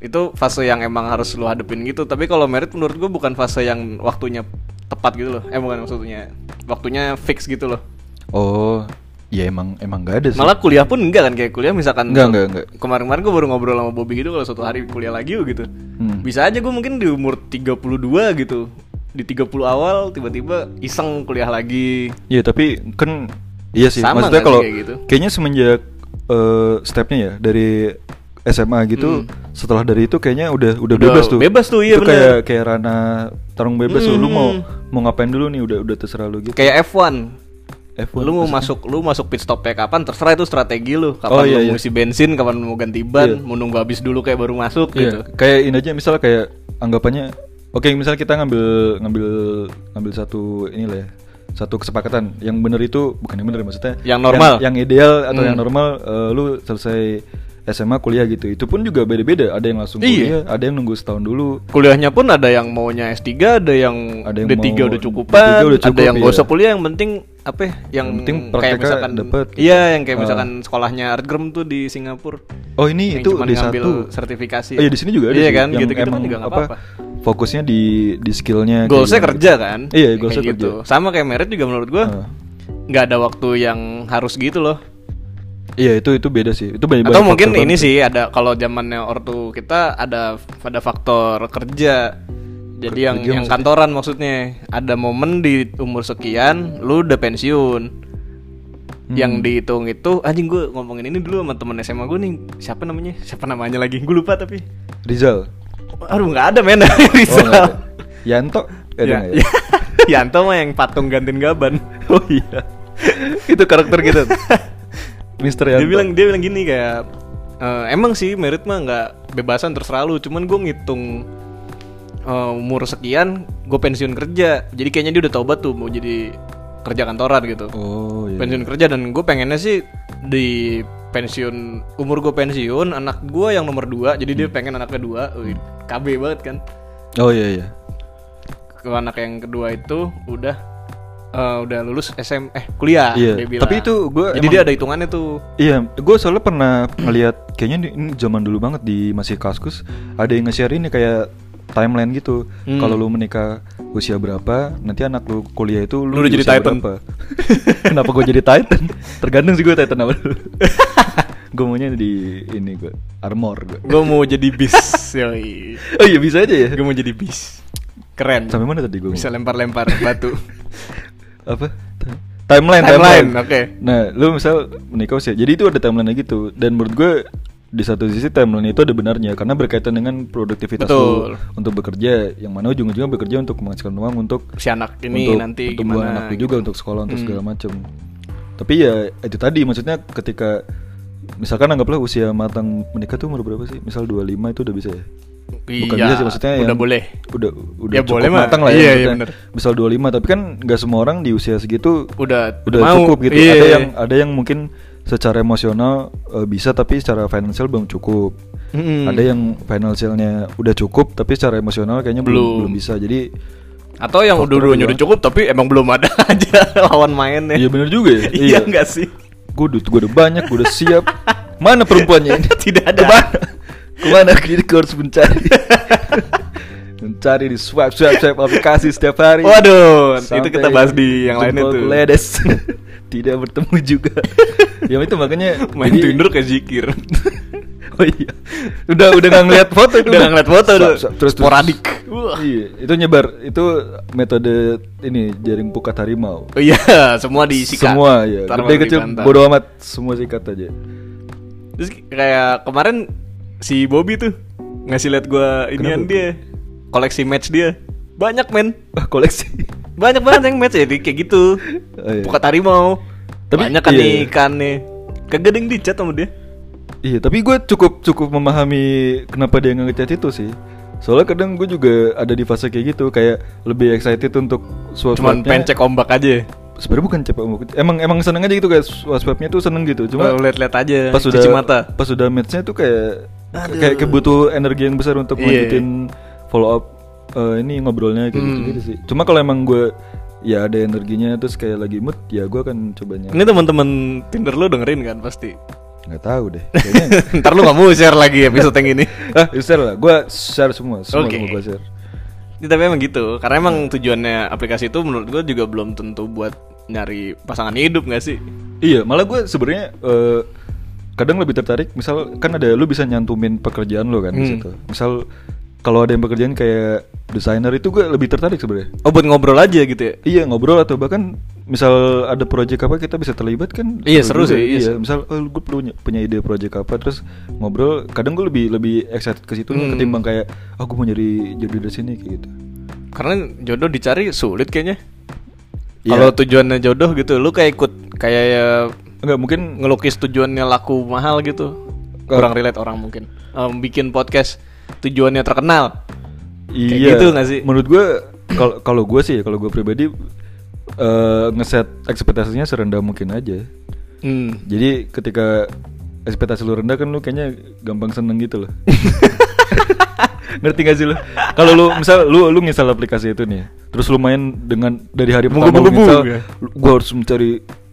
itu fase yang emang harus lu hadepin gitu tapi kalau merit menurut gue bukan fase yang waktunya tepat gitu loh eh bukan maksudnya waktunya fix gitu loh Oh, ya emang emang gak ada sih. malah kuliah pun enggak kan kayak kuliah misalkan Enggak, enggak, enggak. kemarin-kemarin gue baru ngobrol sama Bobby gitu kalau suatu hari kuliah lagi yuk gitu Hmm. bisa aja gue mungkin di umur 32 gitu di 30 awal tiba-tiba iseng kuliah lagi Iya tapi kan iya sih. Sama Maksudnya nggak sih kalau kayak gitu? kayaknya semenjak eh, stepnya ya dari SMA gitu, setelah dari itu kayaknya udah udah Hmm. Udah bebas tuh. bebas tuh, iya Itu bener. kayak kayak ranah tarung bebas tuh. Lu Hmm. mau mau ngapain dulu nih? Udah udah terserah lu gitu. kayak F1 F1 lu mau maksudnya. masuk lu masuk pit stopnya kapan terserah itu strategi Oh, lu kapan iya, lu iya. mau isi bensin kapan lu mau ganti ban Iya. mau nunggu habis dulu kayak baru masuk Iya, gitu kayak ini aja misalnya kayak anggapannya oke misalnya kita ngambil ngambil ngambil satu inilah ya satu kesepakatan yang bener itu bukan yang bener ya, maksudnya Yang normal. yang, yang ideal atau Hmm. yang normal eh, lu selesai SMA kuliah gitu itu pun juga beda-beda ada yang langsung kuliah Iya. ada yang nunggu setahun dulu kuliahnya pun ada yang maunya S3, ada yang, Ada yang D3 mau udah cukupan, D3 udah ada cukup, yang gak iya. usah kuliah yang penting apa ya, yang, Yang penting kayak prakteknya misalkan dapet gitu. Iya, yang kayak Ah. misalkan sekolahnya Artgram tuh di Singapura. oh ini Yang itu cuman di ngambil satu sertifikasi. oh, iya di sini juga ada Iya sih, kan, yang gitu-gitu kan emang juga nggak apa-apa. fokusnya di di skillnya kayak Goalsnya gimana kerja gitu. kan? iya Kayak goalsnya kerja gitu. Sama kayak merit juga menurut gua. Ah. nggak ada waktu yang harus gitu loh. iya itu itu beda sih itu banyak banget Atau mungkin faktor ini banget. sih ada kalau zamannya ortu kita ada ada faktor kerja. Jadi Kerja yang yang maksudnya? kantoran maksudnya ada momen di umur sekian lu udah pensiun. Hmm. Yang dihitung itu anjing gue ngomongin ini dulu sama temen SMA gue nih siapa namanya siapa namanya lagi gue lupa tapi [laughs] Rizal aduh nggak ada men [laughs] Rizal. Oh, nggak ada. Yanto ada Ya- nggak ya? ya. [laughs] Yanto mah yang patung gantiin gaban. [laughs] Oh iya. itu karakter [laughs] kita. gitu. Mister dia Yanto. bilang dia bilang gini kayak "Eh, emang sih merit mah nggak bebasan terserah lu, cuman gue ngitung eh, umur sekian gue pensiun kerja. Jadi kayaknya dia udah tobat tuh mau jadi kerja kantoran gitu. Oh iya. Pensiun kerja dan gue pengennya sih di pensiun umur gue pensiun anak gue yang nomor dua jadi Hmm. dia pengen anaknya dua Wih, KB banget kan Oh iya iya. ke anak yang kedua itu udah eh, udah lulus SM eh kuliah Iya, dia bilang. tapi itu gua jadi emang- dia ada hitungannya tuh Iya, gue soalnya pernah ngeliat kayaknya di- ini zaman dulu banget di masih kaskus ada yang nge-share ini kayak timeline gitu. Hmm. Kalau lu menikah usia berapa, nanti anak lu kuliah itu lu, Lu udah di jadi usia Titan. berapa. [laughs] Kenapa gue jadi Titan? Tergantung sih gue Titan apa [laughs] dulu. gue maunya di ini gue armor gue. gue mau jadi bis yoi Oh iya bisa aja ya. gue mau jadi bis keren Sampai mana tadi gue? bisa lempar-lempar batu apa Ti- timeline Timeline, oke. nah lu misal menikah usia jadi itu ada timeline gitu dan menurut gue di satu sisi timeline itu ada benarnya karena berkaitan dengan produktivitas lu Betul. untuk bekerja yang mana ujung-ujungnya bekerja untuk menghasilkan uang untuk si anak ini untuk nanti pertumbuhan gimana gitu. Hmm. anak lu juga untuk sekolah untuk segala macam tapi ya itu tadi maksudnya ketika misalkan anggaplah usia matang menikah tuh umur berapa sih misal 25 itu udah bisa ya Bukan Iya, bisa sih maksudnya udah yang boleh Udah udah Ya, cukup boleh mah. matang lah ya Iya, iya, maksudnya. Misal 25 tapi kan nggak semua orang di usia segitu udah udah mau. cukup gitu. Iya. Ada yang ada yang mungkin secara emosional eh, bisa tapi secara finansial belum cukup. Mm-mm. Ada yang finansialnya udah cukup tapi secara emosional kayaknya belum Belum. belum bisa. Jadi atau yang udah udah udah cukup tapi emang belum ada [laughs] aja lawan mainnya iya bener juga ya. iya enggak sih Gue udah gue udah banyak, gue udah siap. Mana perempuannya ini? [laughs] Tidak ada. Kemana? Kemana Jadi gua harus mencari? [laughs] mencari di swipe swipe swipe aplikasi setiap hari. waduh itu Sampai kita bahas di yang lainnya jempolku tuh ledes. [laughs] Tidak bertemu juga. ya itu makanya [laughs] main jadi- Tinder kayak zikir [laughs] Oh iya. Udah udah nggak ngeliat foto itu. Udah nggak ngeliat foto, Sa- udah. sa- Terus terus- Sporadik. Wah. Iya, itu nyebar. Itu metode ini jaring pukat harimau. oh iya semua disikat Semua ya. Taruh Gede di kecil bantal. bodo amat semua sikat aja. terus kayak kemarin si Bobby tuh ngasih liat gua inian Kenapa? dia koleksi match dia banyak men Wah, koleksi. [laughs] banyak banget yang match jadi kayak gitu Oh, iya. pukat harimau Tapi- banyak kan iya, iya. nih ikannya kegedeng dicat sama dia Iya, tapi gue cukup cukup memahami kenapa dia nggak ngecat itu sih. Soalnya kadang gue juga ada di fase kayak gitu, kayak lebih excited untuk cuman suatu pencek ombak aja sebenarnya bukan cepat umur. Emang emang seneng aja gitu guys. Waspapnya tuh seneng gitu. Cuma Cuma lihat-lihat aja pas Oh, cuci sudah mata. pas sudah matchnya tuh kayak Aduh. kayak kebutuh energi yang besar untuk Iya. lanjutin follow up eh, ini ngobrolnya kayak gitu, Hmm. sih cuma kalau emang gue ya ada energinya terus kayak lagi mood ya gue akan cobanya Ini teman-teman Tinder lu dengerin kan [laughs] pasti. nggak tahu deh kayaknya [laughs] Ntar lu gak mau share lagi episode yang ini. ah you share lah gue share semua semua Oke. gue share Ya, tapi emang gitu, karena emang tujuannya aplikasi itu menurut gue juga belum tentu buat nyari pasangan hidup gak sih? iya malah gue sebenarnya eh, kadang lebih tertarik misal kan ada lu bisa nyantumin pekerjaan lo kan di Hmm. situ. misal kalau ada yang pekerjaan kayak desainer itu gue lebih tertarik sebenarnya Oh buat ngobrol aja gitu ya? Iya ngobrol atau bahkan misal ada project apa kita bisa terlibat kan? Iya, seru juga. sih, iya, Iya, seru. misal oh, gue punya punya ide project apa terus ngobrol. Kadang gue lebih lebih excited ke situ Hmm. ketimbang kayak oh gue mau jadi jadi dari sini kayak gitu. Karena jodoh dicari sulit kayaknya. Iya. Kalau tujuannya jodoh gitu, lu kayak ikut kayak ya, Enggak mungkin ngelukis tujuannya laku mahal gitu. Kalau- Kurang relate orang mungkin. Em, bikin podcast tujuannya terkenal. Kayak iya. gitu nggak sih? Menurut gue kalau kalau gue sih ya, kalau gue pribadi eh, ngeset ekspektasinya serendah mungkin aja. Hmm. Jadi ketika ekspektasi lu rendah kan lu kayaknya gampang seneng gitu [laughs] loh. Ngerti gak sih lu? Kalau lu misal lu lu nginstal aplikasi itu nih, terus lu main dengan dari hari pertama lu Menggebu-gebu, nginstal, ya. lu- gua harus mencari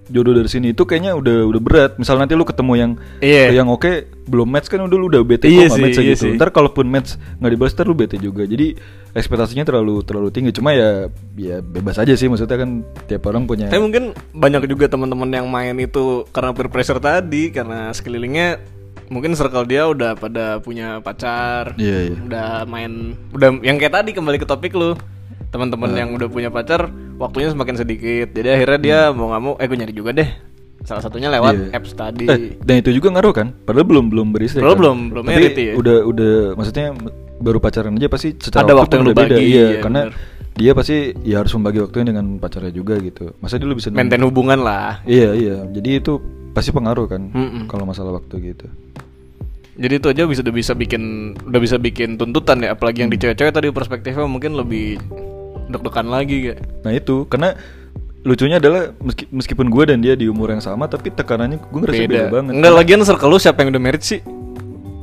jodoh dari sini itu kayaknya udah udah berat. Misal nanti lu ketemu yang Iya. yang oke belum match kan udah lu udah bete Iya kok nggak sih, match iya gitu. sih. Ntar kalaupun match nggak dibalas ntar lu bete juga. Jadi ekspektasinya terlalu terlalu tinggi. Cuma ya ya bebas aja sih maksudnya kan tiap orang punya. Tapi mungkin banyak juga teman-teman yang main itu karena peer pressure tadi, karena sekelilingnya mungkin circle dia udah pada punya pacar, Iya, iya. udah main, udah yang kayak tadi kembali ke topik lu, teman-teman Eh. yang udah punya pacar waktunya semakin sedikit, jadi akhirnya dia mau nggak mau, eh gue nyari juga deh, salah satunya lewat Hmm. Iya. apps tadi. Eh, dan itu juga ngaruh kan? Padahal belum belum beristri. Belum, kan? belum, belum Tapi merit ya. udah udah maksudnya baru pacaran aja pasti secara Ada waktu yang pun lu udah beda. bagi, iya, iya, karena bener. dia pasti ya harus membagi waktunya dengan pacarnya juga gitu. Masa dia lu bisa Maintain hubungan lah. Iya, iya. Jadi itu pasti pengaruh kan Mm-mm. kalau masalah waktu gitu. Jadi itu aja bisa udah bisa bikin udah bisa bikin tuntutan ya, apalagi yang di Hmm. cewek-cewek tadi perspektifnya mungkin lebih deg-degan lagi kayak. Nah, itu karena lucunya adalah meski- meskipun gue dan dia di umur yang sama tapi tekanannya gue ngerasa beda, banget. kan? Enggak lagian circle lu siapa yang udah married sih?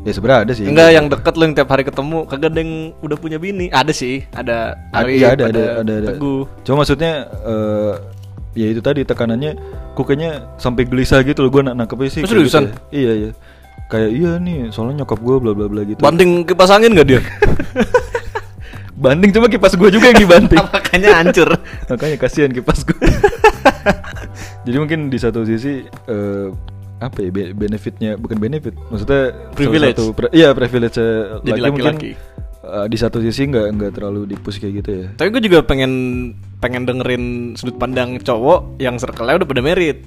Ya sebenarnya ada sih. Enggak yang deket lu yang tiap hari ketemu, kagak ada yang udah punya bini. Ada sih, ada Ada, Arif, iya, ada, ada, ada, ada. Teguh. Cuma maksudnya eh, ya itu tadi tekanannya kok kayaknya sampai gelisah gitu loh gue nak nangkepnya sih. Oh, kayak gitu seriusan? ya. Iya iya. Kayak iya nih soalnya nyokap gue bla bla bla gitu. Banting kipas angin [laughs] enggak dia? Banding cuma kipas gue juga yang dibanting. [laughs] Makanya hancur. [laughs] Makanya kasihan kipas gue. [laughs] Jadi mungkin di satu sisi eh, apa ya be- benefitnya bukan benefit maksudnya salah Privilege. satu pri- iya privilege Jadi laki-laki. mungkin eh, di satu sisi nggak nggak terlalu dipus kayak gitu ya Tapi gue juga pengen pengen dengerin sudut pandang cowok yang circle-nya udah pada married.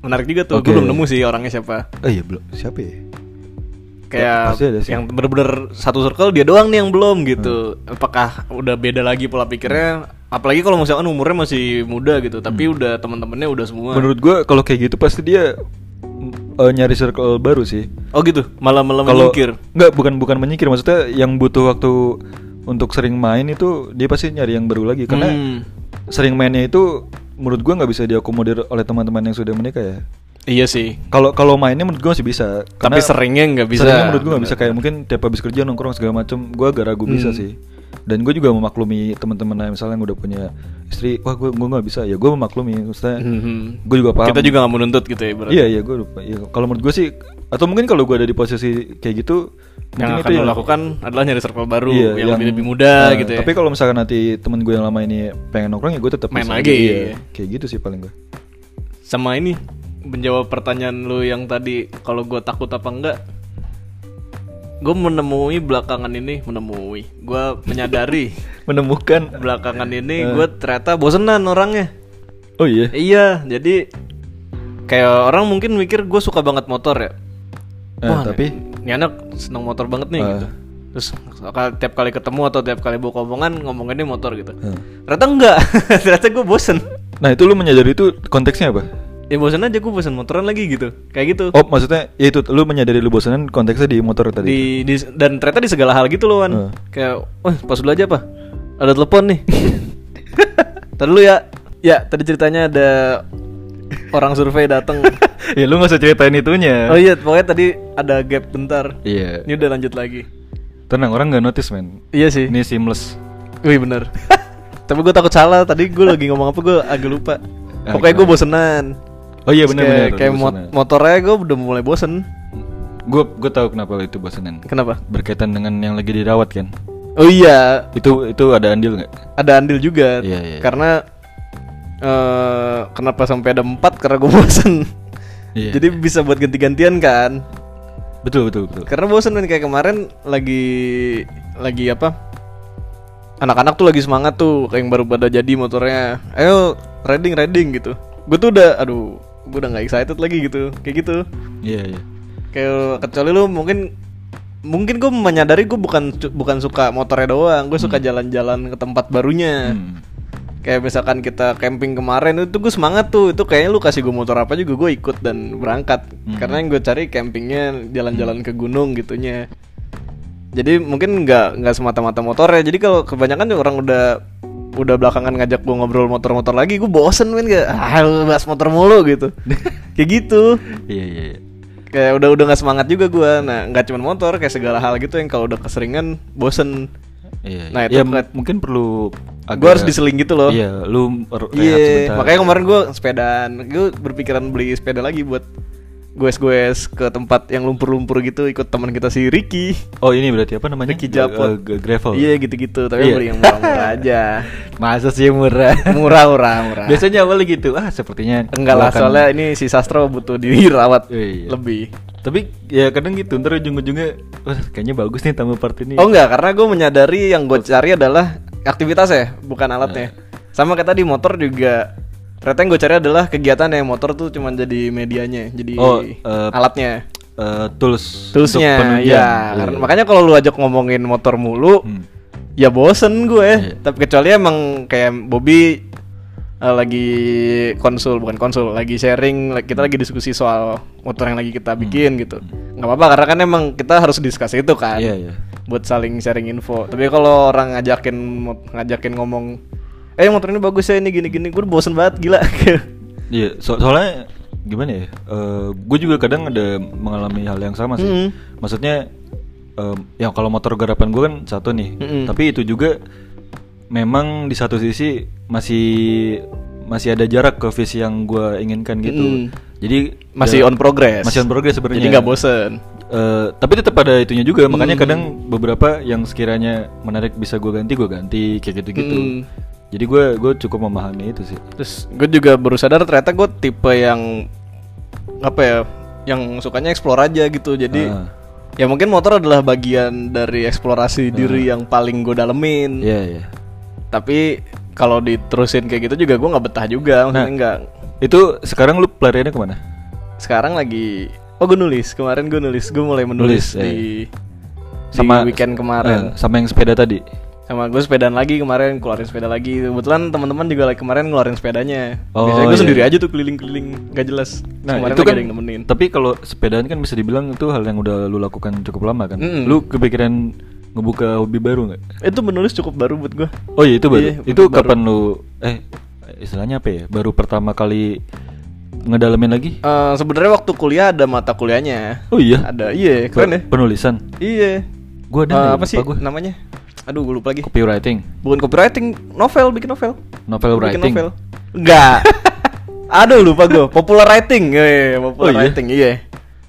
Menarik juga tuh. Oke. Gue belum nemu sih orangnya siapa. oh iya belum siapa ya Kayak Pasti ada sih. yang bener-bener satu circle dia doang nih yang belum gitu. Hmm. Apakah udah beda lagi pola pikirnya? Apalagi kalau misalkan umurnya masih muda gitu, tapi Hmm. udah teman-temannya udah semua. Menurut gua kalau kayak gitu pasti dia mm, eh, nyari circle baru sih. Oh gitu, malam-malam Kalau menyingkir. nggak bukan bukan menyingkir maksudnya yang butuh waktu untuk sering main itu dia pasti nyari yang baru lagi karena Hmm. sering mainnya itu menurut gua nggak bisa diakomodir oleh teman-teman yang sudah menikah ya. Iya sih. Kalau kalau mainnya menurut gua masih bisa. Tapi seringnya nggak bisa. Seringnya menurut gua nggak bisa kayak mungkin tiap habis kerja nongkrong segala macem gua agak ragu bisa Hmm. sih. Dan gue juga memaklumi teman-teman misalnya yang udah punya istri, wah gue gue nggak bisa ya gue memaklumi maksudnya Mhm. gue juga paham. Kita juga nggak menuntut gitu ya berarti. Iya iya gue lupa. Iya. Kalau menurut gue sih atau mungkin kalau gue ada di posisi kayak gitu Yang mungkin akan lo lakukan adalah nyari circle baru iya, yang, lebih lebih muda eh, gitu ya. Tapi kalau misalkan nanti temen gue yang lama ini pengen nongkrong ya gue tetap Main bisa. lagi. Iya, Kayak gitu sih paling gue. sama ini menjawab pertanyaan lu yang tadi kalau gue takut apa enggak gue menemui belakangan ini menemui gue menyadari [laughs] Menemukan. belakangan Eh. ini gue ternyata bosenan orangnya Oh iya. iya jadi kayak orang mungkin mikir gue suka banget motor ya Eh, tapi ini anak seneng motor banget nih Eh. gitu terus kal- tiap kali ketemu atau tiap kali bawa omongan ngomonginnya motor gitu eh. ternyata enggak [laughs] ternyata gue bosen nah itu lu menyadari itu konteksnya apa? ya bosen aja gue bosen motoran lagi gitu kayak gitu Oh maksudnya ya itu lu menyadari lu bosanan konteksnya di motor tadi. di, di dan ternyata di segala hal gitu loh Wan Heeh. kayak wah pas dulu aja apa ada telepon nih [laughs] Ntar dulu ya Ya, tadi ceritanya ada orang survei datang. ya Iya, lu gak usah ceritain itunya. [laughs] oh iya, pokoknya tadi ada gap bentar. Iya. Ini udah lanjut lagi. Tenang orang nggak notice men. Iya sih. Ini seamless. Wih bener. [laughs] Tapi gue takut salah. Tadi gue lagi ngomong apa gue agak lupa. Ah, Pokoknya gue gimana? bosenan. Oh iya Terus benar-benar. Kayak, kayak mot- motornya gue udah mulai bosen. Gue gue tahu kenapa itu bosenan. Kenapa? Berkaitan dengan yang lagi dirawat kan. Oh iya, Itu itu ada andil nggak? ada andil juga. Iya, iya. Karena eh kenapa sampai ada empat karena gue [laughs] bosen. Iya. Jadi bisa buat ganti-gantian kan. Betul betul betul. Karena bosen kan kayak kemarin lagi lagi apa? Anak-anak tuh lagi semangat tuh kayak yang baru pada jadi motornya. Ayo riding riding gitu. Gue tuh udah aduh, gue udah nggak excited lagi gitu. Kayak gitu. Iya iya. Kayak kecuali lu mungkin mungkin gue menyadari gue bukan bukan suka motornya doang, gue suka jalan-jalan ke tempat barunya. Hmm. Kayak misalkan kita camping kemarin itu gue semangat tuh Itu kayaknya lu kasih gue motor apa juga gue ikut dan berangkat Karena yang gue cari campingnya jalan-jalan ke gunung gitunya Jadi mungkin nggak nggak semata-mata motornya Jadi kalau kebanyakan orang udah udah belakangan ngajak gue ngobrol motor-motor lagi Gue bosen men kayak ah lu bahas motor mulu gitu Kayak gitu Iya iya. iya. Kayak udah udah nggak semangat juga gue Nah nggak cuma motor kayak segala hal gitu yang kalau udah keseringan bosen Iya. iya. Nah, itu Ya, ke- mungkin perlu agak Gue harus diseling gitu loh Iya, lu r- rehat Iya, sebentar. makanya kemarin gue sepedaan, gue berpikiran beli sepeda lagi buat goes-goes ke tempat yang lumpur-lumpur gitu ikut teman kita si Ricky. Oh, ini berarti apa namanya? Ricky Eh, Japot. g- gravel. Iya gitu-gitu, tapi Iya. beli yang [laughs] murah-murah aja. Masa sih murah? Murah, murah, murah. Biasanya awalnya gitu. Ah, sepertinya Enggak lah, akan- soalnya ini si Sastro butuh dirawat Iya. lebih. Tapi ya kadang gitu, ntar ujung-ujungnya wah kayaknya bagus nih tambah part ini. Oh enggak, karena gue menyadari yang gue cari adalah aktivitas ya, bukan alatnya. Sama kayak tadi motor juga. Ternyata yang gue cari adalah kegiatan yang motor tuh cuman jadi medianya, jadi Oh, eh, alatnya. Eh, tools untuk Toolsnya penunjang. Iya. ya karena- makanya kalau lu ajak ngomongin motor mulu Hmm. ya bosen Iya. gue tapi kecuali emang kayak Bobby eh, lagi konsul bukan konsul lagi sharing la- kita lagi diskusi soal motor yang lagi Hmm. kita bikin gitu nggak apa-apa karena kan emang kita harus diskus itu kan Iya, iya. buat saling sharing info tapi kalau orang ngajakin mot- ngajakin ngomong eh motor ini bagus ya ini gini gini gue bosen banget gila [laughs] Iya, so- soalnya gimana ya? gue juga kadang ada mengalami hal yang sama sih. Mm. Maksudnya em, ya kalau motor garapan gue kan satu nih, Mm-mm. tapi itu juga memang di satu sisi masih masih ada jarak ke visi yang gue inginkan gitu. Mm. Jadi masih ya, on progress masih on progress sebenarnya. jadi nggak bosen Eh, tapi tetap ada itunya juga Mm-hmm. makanya kadang beberapa yang sekiranya menarik bisa gue ganti gue ganti kayak gitu gitu Hmm. jadi gue gue cukup memahami itu sih Terus gue juga baru sadar ternyata gue tipe yang apa ya, yang sukanya explore aja gitu. Jadi Ah. ya mungkin motor adalah bagian dari eksplorasi diri yang paling gue dalemin. iya iya Tapi kalau diterusin kayak gitu juga gue nggak betah juga. Nah. Maksudnya nggak. itu sekarang lu pelariannya kemana Sekarang lagi oh gue nulis kemarin gue nulis gue mulai menulis Nulis, iya. di Sama- di weekend kemarin. Eh, sama yang sepeda tadi sama gue sepedaan lagi kemarin keluarin sepeda lagi kebetulan teman-teman juga lagi kemarin ngeluarin sepedanya Oh, biasanya gue iya. sendiri aja tuh keliling-keliling gak jelas nah kemarin itu lagi kan ada yang nemenin tapi kalau sepedaan kan bisa dibilang itu hal yang udah lu lakukan cukup lama kan Mm-mm. lu kepikiran ngebuka hobi baru nggak itu menulis cukup baru buat gue oh iya itu baru Iya, itu kapan lu eh istilahnya apa ya baru pertama kali ngedalamin lagi Eh, sebenarnya waktu kuliah ada mata kuliahnya oh iya ada iya keren ya penulisan iya Gua ada Eh, nggak ya? apa sih Lupa gua. namanya aduh gue lupa lagi copywriting bukan copywriting novel bikin novel novel bikin writing novel [laughs] enggak aduh lupa gue popular writing iya, iya, Oh, popular iya? writing iya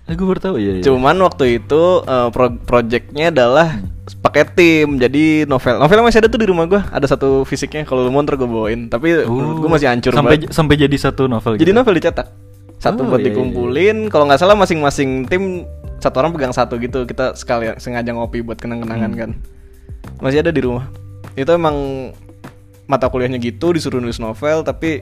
eh gue baru tahu ya, ya. Cuman waktu itu eh, pro- projectnya adalah Hmm. pakai tim jadi novel novel masih ada tuh di rumah gua ada satu fisiknya kalau lu mau ntar gue bawain tapi iya, menurut gue masih hancur Oh. sampai banget sampai jadi satu novel gitu. jadi novel dicetak satu Oh, buat iya, iya, dikumpulin kalau nggak salah masing-masing tim satu orang pegang satu gitu kita sekali sengaja ngopi buat kenang-kenangan Hmm. kan masih ada di rumah itu emang mata kuliahnya gitu disuruh nulis novel tapi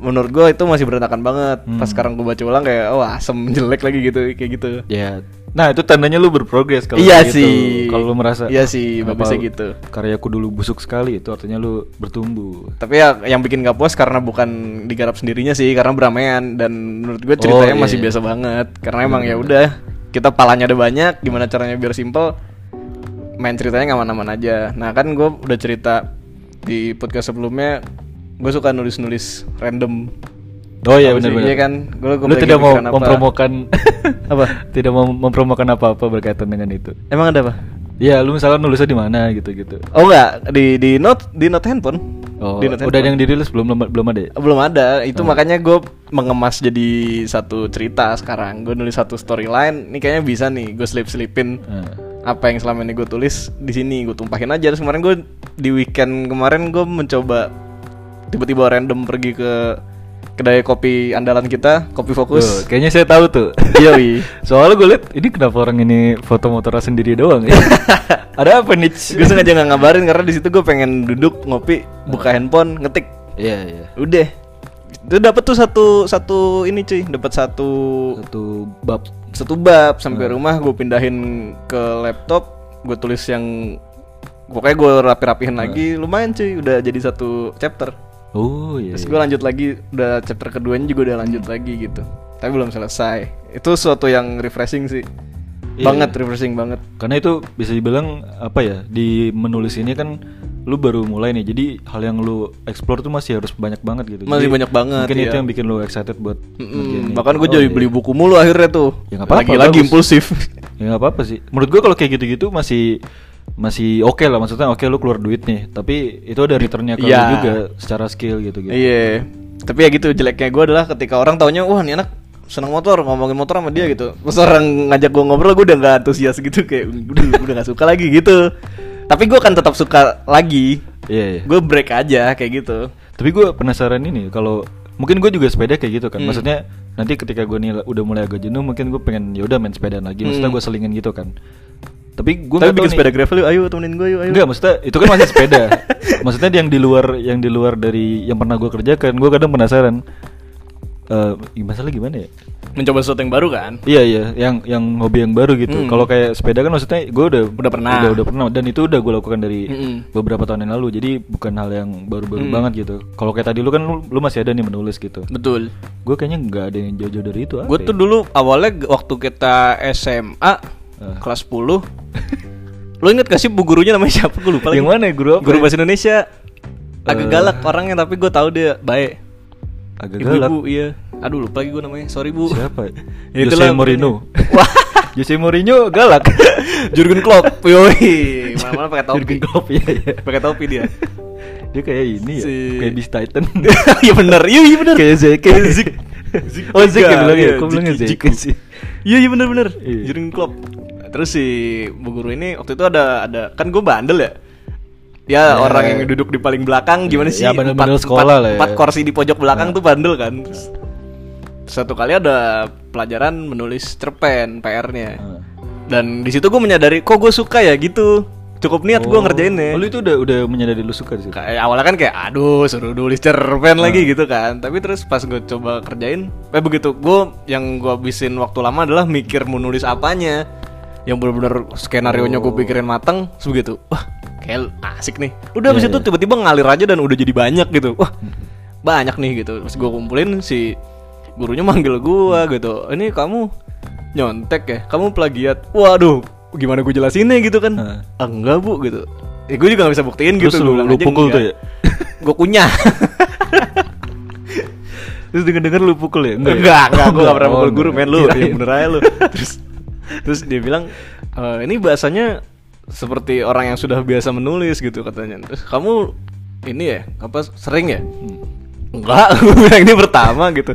menurut gue itu masih berantakan banget Hmm. pas sekarang gue baca ulang kayak wah asem [laughs] jelek lagi gitu kayak gitu ya nah itu tandanya lu berprogres kalau Iya kayak gitu. sih. kalau lu merasa "Ah, Iya sih, kenapa bagusnya gitu." karyaku dulu busuk sekali itu artinya lu bertumbuh Tapi ya yang bikin gak puas karena bukan digarap sendirinya sih, karena beramaian dan menurut gue ceritanya Oh, iya, masih iya. biasa banget. Karena emang ya udah kita palanya ada banyak, gimana caranya biar simple main ceritanya nggak aman-aman aja. Nah kan gue udah cerita di podcast sebelumnya gue suka nulis-nulis random Oh iya Apa sih? benar-benar. Iya kan? Gua- gua Lu lagi tidak mau mikirin apa. [laughs] mempromokan Apa? tidak mau mempromokan apa-apa berkaitan dengan itu. emang ada apa Ya, lu misalnya nulisnya di mana gitu-gitu. oh enggak di di note di note handphone Oh, di note udah ada yang dirilis belum belum belum ada ya? belum ada itu makanya gue mengemas jadi satu cerita sekarang gue nulis satu storyline ini kayaknya bisa nih gue selip selipin Nah. apa yang selama ini gue tulis di sini gue tumpahin aja terus kemarin gue di weekend kemarin gue mencoba tiba-tiba random pergi ke kedai kopi andalan kita kopi Tuh, fokus kayaknya saya tahu tuh. Yoi. [laughs] Soalnya gue liat ini kenapa orang ini foto motornya sendiri doang [laughs] ya? ada apa nih? gue sengaja nggak ngabarin karena di situ gue pengen duduk ngopi buka handphone ngetik Iya, iya. udah itu dapat tuh satu satu ini cuy dapat satu Satu bab. satu bab sampai rumah gue pindahin ke laptop gue tulis yang pokoknya gue rapi-rapihin lagi lumayan cuy udah jadi satu chapter Oh, iya. terus iya. gue lanjut lagi udah chapter keduanya juga udah lanjut lagi gitu tapi belum selesai itu suatu yang refreshing sih Iya. banget refreshing banget Karena itu bisa dibilang apa ya di menulis ini kan lu baru mulai nih jadi hal yang lu explore tuh masih harus banyak banget gitu. Masih Jadi, banyak banget, Mungkin itu iya. yang bikin lu excited buat. ngerjain Mm-mm, ini. bahkan gue Oh, jadi iya. beli buku mulu akhirnya tuh Ya, nggak apa-apa, lagi lagi bagus. [laughs] impulsif Ya nggak apa-apa sih. Menurut gua kalau kayak gitu-gitu masih masih oke lah maksudnya oke lu keluar duit nih tapi itu ada returnnya ke lu Iya. juga secara skill gitu gitu. Iya. Tapi ya gitu jeleknya gue adalah ketika orang taunya wah nih anak seneng motor ngomongin motor sama dia gitu. Terus orang ngajak gue ngobrol gue udah nggak antusias gitu kayak udah udah nggak suka lagi gitu. Tapi gue akan tetap suka lagi. Iya. iya. Gue break aja kayak gitu. Tapi gue penasaran ini kalau mungkin gue juga sepeda kayak gitu kan. Hmm. Maksudnya nanti ketika gue nih udah mulai agak jenuh, mungkin gue pengen yaudah main sepedaan lagi. Maksudnya Hmm. gue selingin gitu kan. Tapi gue Tapi bikin sepeda gitu gravel yuk, ayo temenin gue yuk ayo. Enggak, maksudnya itu kan masih [laughs] sepeda. maksudnya yang di luar yang di luar dari yang pernah gue kerjakan, gue kadang penasaran. Eh, masalah gimana ya? Mencoba sesuatu yang baru kan? Iya iya, yang yang hobi yang baru gitu. Hmm. Kalau kayak sepeda kan maksudnya gue udah Udah pernah. Hmm. udah udah pernah dan itu udah gue lakukan dari Mm-mm. beberapa tahun yang lalu. Jadi bukan hal yang baru-baru Hmm. banget gitu. Kalau kayak tadi lu kan lu, lu masih ada nih menulis gitu. Betul. Gue kayaknya nggak ada yang jauh-jauh dari itu. apa Gue ya? tuh dulu awalnya g- waktu kita SMA Eh. kelas 10 Lo inget gak sih bu gurunya namanya siapa? Gue lupa lagi Yang mana ya, guru apa Guru ya? Eh. bahasa Indonesia Agak galak orangnya tapi gue tahu dia baik agak galak. Ibu-ibu iya Aduh lupa lagi gue namanya Sorry bu [laughs] Siapa? ya? Ya, Jose itulah Mourinho. pokoknya. [laughs] Wah Jose Mourinho [laughs] galak. Jurgen Klopp [laughs] Yoi Mana-mana Iya, pakai topi Jurgen Klopp ya. ya. [laughs] Pakai topi dia [laughs] Dia kayak ini ya, Si- kayak Beast Titan. Iya [laughs] bener Iya iya bener kayak Zeke. Kayak Zik Zik [laughs] Oh Zeke juga, ya bilang ya, iya, kok bilangnya Ziki, Zeke Ziku. sih. Iya iya bener bener Iya. Jurgen Klopp Terus si bu guru ini waktu itu ada ada kan gue bandel ya Ya. Ya, orang yang duduk di paling belakang gimana Ya, sih? bandel-bandel Empat- sekolah empat- lah ya. Iya. Empat kursi di pojok belakang tuh bandel kan. Terus Satu kali ada pelajaran menulis cerpen PR-nya. Ah. Dan di situ gue menyadari kok gue suka ya gitu. Cukup niat gue ngerjainnya. Oh, lu itu udah udah menyadari lu suka di situ. Kayak awalnya kan kayak aduh suruh nulis cerpen lagi Hmm. gitu kan. Tapi terus pas gue coba kerjain, eh begitu gue yang gue habisin waktu lama adalah mikir mau nulis apanya. Yang bener-bener skenario nya gue Oh. pikirin mateng, terus begitu. Wah, kayak asik nih. Udah abis Iya, Hmm. itu tiba-tiba ngalir aja dan udah jadi banyak gitu. Wah, banyak nih gitu. Terus gue kumpulin si gurunya manggil gue Hmm. gitu. Ini kamu nyontek ya? Kamu plagiat? Waduh, gimana gue jelasinnya gitu kan? Heeh. Ah, enggak bu gitu. Eh, gue juga gak bisa buktiin Terus gitu lu- gua bilang lu aja pukul enggak. tuh ya? [laughs] Gua kunyah Terus denger-denger lu pukul ya? ya? enggak enggak, enggak gue gak Oh, pernah mukul enggak. guru men lu Iya, Kirain. yang bener aja [laughs] lu terus terus dia bilang "Eh, ini bahasanya seperti orang yang sudah biasa menulis gitu katanya terus kamu ini ya apa sering ya Hmm. enggak [laughs] gue bilang ini pertama gitu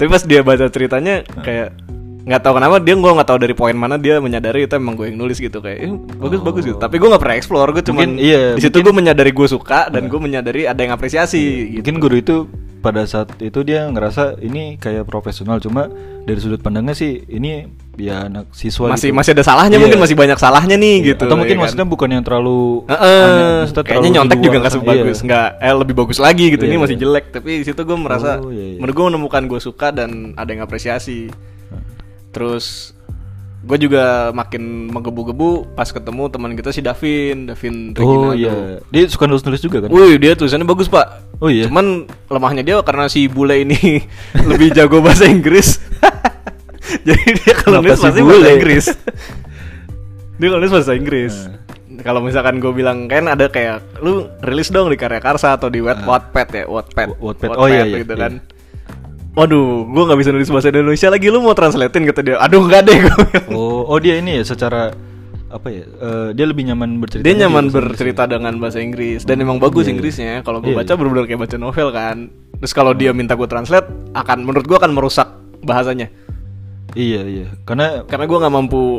tapi pas dia baca ceritanya kayak nggak tahu kenapa dia gue nggak tahu dari poin mana dia menyadari itu emang gue yang nulis gitu kayak "Eh, bagus bagus gitu tapi gue nggak pernah explore gue Mungkin, cuman iya, di situ gue menyadari gue suka dan gue menyadari ada yang apresiasi gitu Mungkin guru itu pada saat itu dia ngerasa ini kayak profesional cuma dari sudut pandangnya sih ini ya anak siswa masih gitu. masih ada salahnya Iya. mungkin masih banyak salahnya nih Iya, gitu Atau mungkin ya kan? maksudnya bukan yang terlalu Heeh, aneh, maksudnya terlalu kayaknya di nyontek luar juga nggak sana. sebagus Iya. nggak eh lebih bagus lagi gitu ini Iya. masih jelek tapi di situ gue merasa Oh, iya, iya. menurut gue menemukan gue suka dan ada yang apresiasi terus gue juga makin menggebu-gebu pas ketemu teman kita si Davin Davin Oh Reginaldo. iya. Dia suka nulis-nulis juga kan? Wih dia tulisannya bagus pak Oh iya. Cuman lemahnya dia karena si bule ini [laughs] lebih jago bahasa Inggris [laughs] Jadi dia kalau Kenapa si nulis [laughs] pasti bahasa bule? Inggris Dia kalau nulis bahasa Inggris Eh. kalau misalkan gue bilang kan ada kayak lu rilis dong di Karya Karsa atau di Wet Ah. Wattpad ya Wattpad Wa- Wattpad. Oh, iya, iya, gitu iya. kan waduh gue nggak bisa nulis bahasa Indonesia lagi lu mau translatein kata dia aduh nggak deh gue Oh, oh dia ini ya secara apa ya? eh, dia lebih nyaman bercerita. gitu dia nyaman bercerita dengan bahasa Inggris dan emang bagus Inggrisnya kalau gue Iya, baca bener-bener kayak baca novel kan terus kalau dia minta gue translate akan menurut gue akan merusak bahasanya Iya, iya. Karena karena gue nggak mampu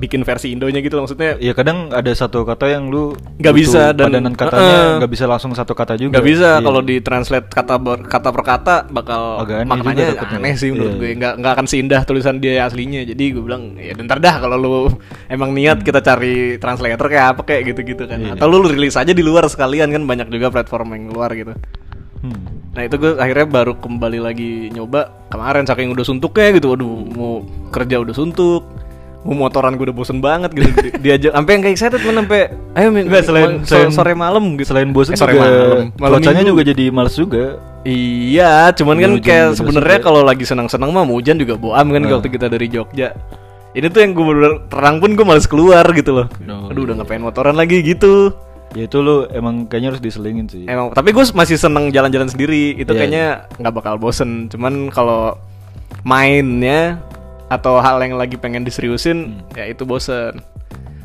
bikin versi Indonya gitu loh, maksudnya ya kadang ada satu kata yang lu Nggak butuh bisa dan- padanan katanya Heeh. nggak bisa langsung satu kata juga. nggak bisa Iya. kalau di translate kata ber- kata per kata bakal Agak aneh maknanya juga takutnya. aneh sih menurut Iya. gue nggak nggak akan seindah tulisan dia aslinya jadi gue bilang ya bentar dah kalau lu emang niat kita cari translator kayak apa kayak gitu gitu kan Iya. atau lu rilis aja di luar sekalian kan banyak juga platform yang luar gitu Hmm. Nah itu gue akhirnya baru kembali lagi nyoba kemarin saking udah suntuknya gitu, waduh mau kerja udah suntuk, mau motoran gue udah bosen banget gitu, Di- diajak sampai yang kayak excited men sampai ayo min, Nggak, selain- so- selain- sore malam gitu, Selain bosan Eh, sore juga malam, malam cuacanya minggu. juga jadi males juga. Iya, cuman Iya, kan hujan kayak juga sebenarnya juga. kalau lagi senang-senang mah mau hujan juga boam kan Nah. waktu kita dari Jogja. Ini tuh yang gue bener terang pun gue males keluar gitu loh. No. Aduh udah ngapain motoran lagi gitu. Ya itu lu emang kayaknya harus diselingin sih. Iya. Emang, tapi gue masih seneng jalan-jalan sendiri. Iya, Itu kayaknya nggak bakal bosen. Cuman kalau mainnya atau hal yang lagi pengen diseriusin, Hmm. ya itu bosen.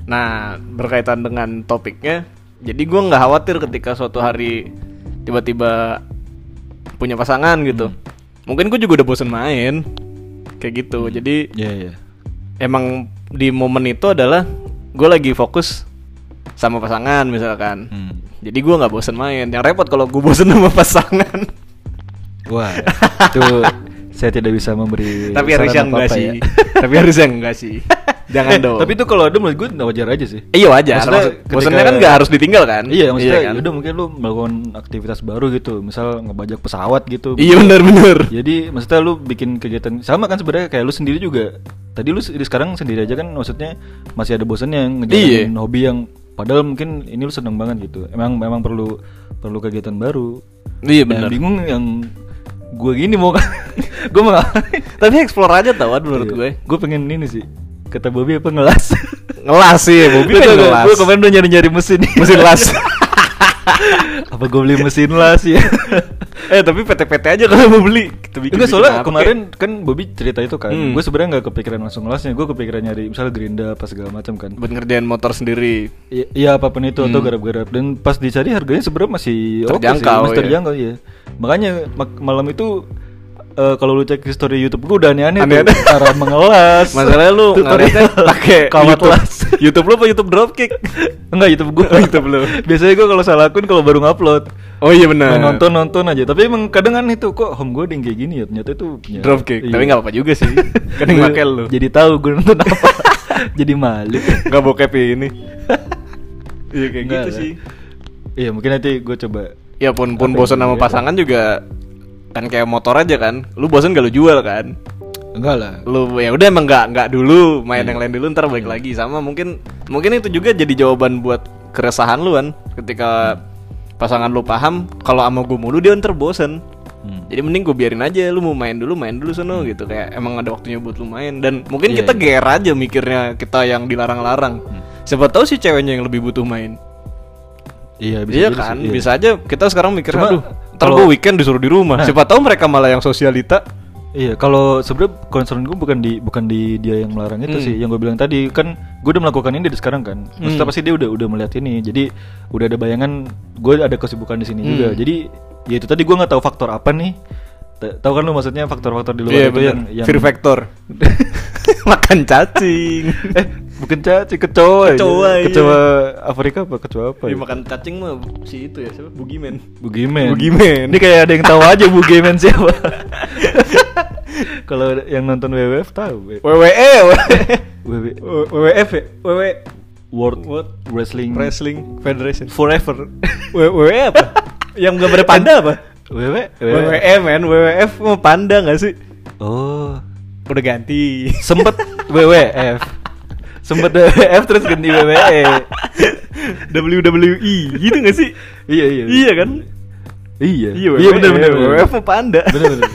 Nah, berkaitan dengan topiknya, jadi gue nggak khawatir ketika suatu hari tiba-tiba punya pasangan gitu. Hmm. Mungkin gue juga udah bosen main, kayak gitu. Jadi Iya, iya. emang di momen itu adalah gue lagi fokus sama pasangan misalkan. Hmm. Jadi gua nggak bosen main. Yang repot kalau gue bosen sama pasangan. Wah, [laughs] itu saya tidak bisa memberi Iya, Tapi saran harusnya enggak apa-apa sih. ya. [laughs] Tapi harusnya enggak sih. Jangan Eh, dong. [laughs] Tapi itu kalau ada menurut gue wajar aja sih. iya wajar. Maksudnya Maksud- ketika- bosennya kan nggak harus ditinggal kan? Iya, maksudnya kan? yaudah mungkin lu melakukan aktivitas baru gitu, misal ngebajak pesawat gitu. Iya benar benar. [laughs] Jadi maksudnya lu bikin kegiatan sama kan sebenarnya kayak lu sendiri juga. Tadi lu se- sekarang sendiri aja kan maksudnya masih ada bosannya yang ngejalanin Iya. hobi yang padahal mungkin ini lu seneng banget gitu. Emang memang perlu perlu kegiatan baru. Iya Yang benar. bingung yang gue gini mau [laughs] gue mau ngapain? [laughs] Tapi explore aja tau Ad, Iya. menurut ya. gue. Gue pengen ini sih. Kata Bobby apa ngelas? Ngelas sih, Bobby pengen ngelas. Gue [laughs] kemarin udah nyari-nyari mesin. Mesin las. apa gue beli mesin las ya? [laughs] eh tapi PT-PT aja kalau mau beli. Kita bikin- Enggak bikin soalnya apa, kemarin kan Bobby cerita itu kan, Hmm. gue sebenarnya nggak kepikiran langsung ngelasnya, gue kepikiran nyari misalnya gerinda apa segala macam kan. kayak, buat ngerjain motor sendiri. I- Iya apapun itu atau garap-garap dan pas dicari harganya sebenarnya masih oke sih, Hmm. Terjangkau, masih ya. terjangkau ya. Makanya mak- malam itu eh, kalau lu cek history YouTube gue udah aneh-aneh tuh, Aneh-aneh. cara mengelas. [laughs] Masalahnya lu ngeliatnya pakai [laughs] kawat YouTube. las. [laughs] YouTube lu apa YouTube [laughs] Dropkick? Enggak YouTube gue YouTube lu. [laughs] Biasanya gue kalau salah akun kalau baru ngupload Oh iya benar. nonton nonton aja tapi emang kadang kan itu kok home gue ding kayak gini ya ternyata itu punya Dropkick. Iya. Tapi nggak apa-apa juga [laughs] sih. Kan yang Gua pakai lu. jadi tahu gue nonton apa [laughs] jadi malu Nggak bokep ya [laughs] ini. Iya kayak Nggak gitu lah. sih. iya mungkin nanti gue coba Ya pun pun Apa bosan yang sama dia- pasangan juga kan kayak motor aja kan. Lu bosan gak lu jual kan? enggak lah Lu ya udah emang nggak nggak dulu main yang lain dulu ntar balik lagi sama mungkin mungkin itu juga jadi jawaban buat keresahan lu kan ketika pasangan lu paham kalau sama gue mulu dia ntar bosen Hmm. jadi mending gue biarin aja lu mau main dulu main dulu sono gitu kayak emang ada waktunya buat lu main dan mungkin Iya, kita iya. Hmm. ger aja mikirnya kita yang dilarang-larang siapa tahu sih ceweknya yang lebih butuh main iya bisa iya jadi kan, sih, iya. bisa aja kita sekarang mikir Cuma, aduh, ntar kalau- gue weekend disuruh di rumah. Siapa tahu mereka malah yang sosialita. Iya, kalau sebenarnya concern gue bukan di bukan di dia yang melarang itu Hmm. sih, yang gue bilang tadi kan gue udah melakukan ini dari sekarang kan. Maksudnya Hmm. pasti dia udah udah melihat ini, jadi udah ada bayangan gue ada kesibukan di sini Hmm. juga. Jadi ya itu tadi gue nggak tahu faktor apa nih. Ta- Tahu kan lu maksudnya faktor-faktor di luar Iya, itu bener. yang yang Fear factor. Makan cacing. [laughs] eh bukan cacing kecoa, ya. Kecoa, iya. kecoa Afrika apa kecoa apa? ya? Dia Iya, makan cacing mah si itu ya, siapa? Bugiman. Bugimen. Bugimen. Ini kayak ada yang tahu aja Bugimen [laughs] siapa. Kalau yang nonton WWF tahu. WWE, E. WWF WWF ya? WWE World, World Wrestling Wrestling Federation. Forever. WWE apa? yang gambar panda apa? WWE. E, WWE men, WWF E mau panda gak sih? Oh, Udah ganti. [laughs] sempet E WWF. Sempet WWF terus ganti E. WWE. WWE gitu gak sih? Iya, iya. Iya kan? Iya. Iya, Iya benar benar. WWF mau panda. Benar [laughs] benar.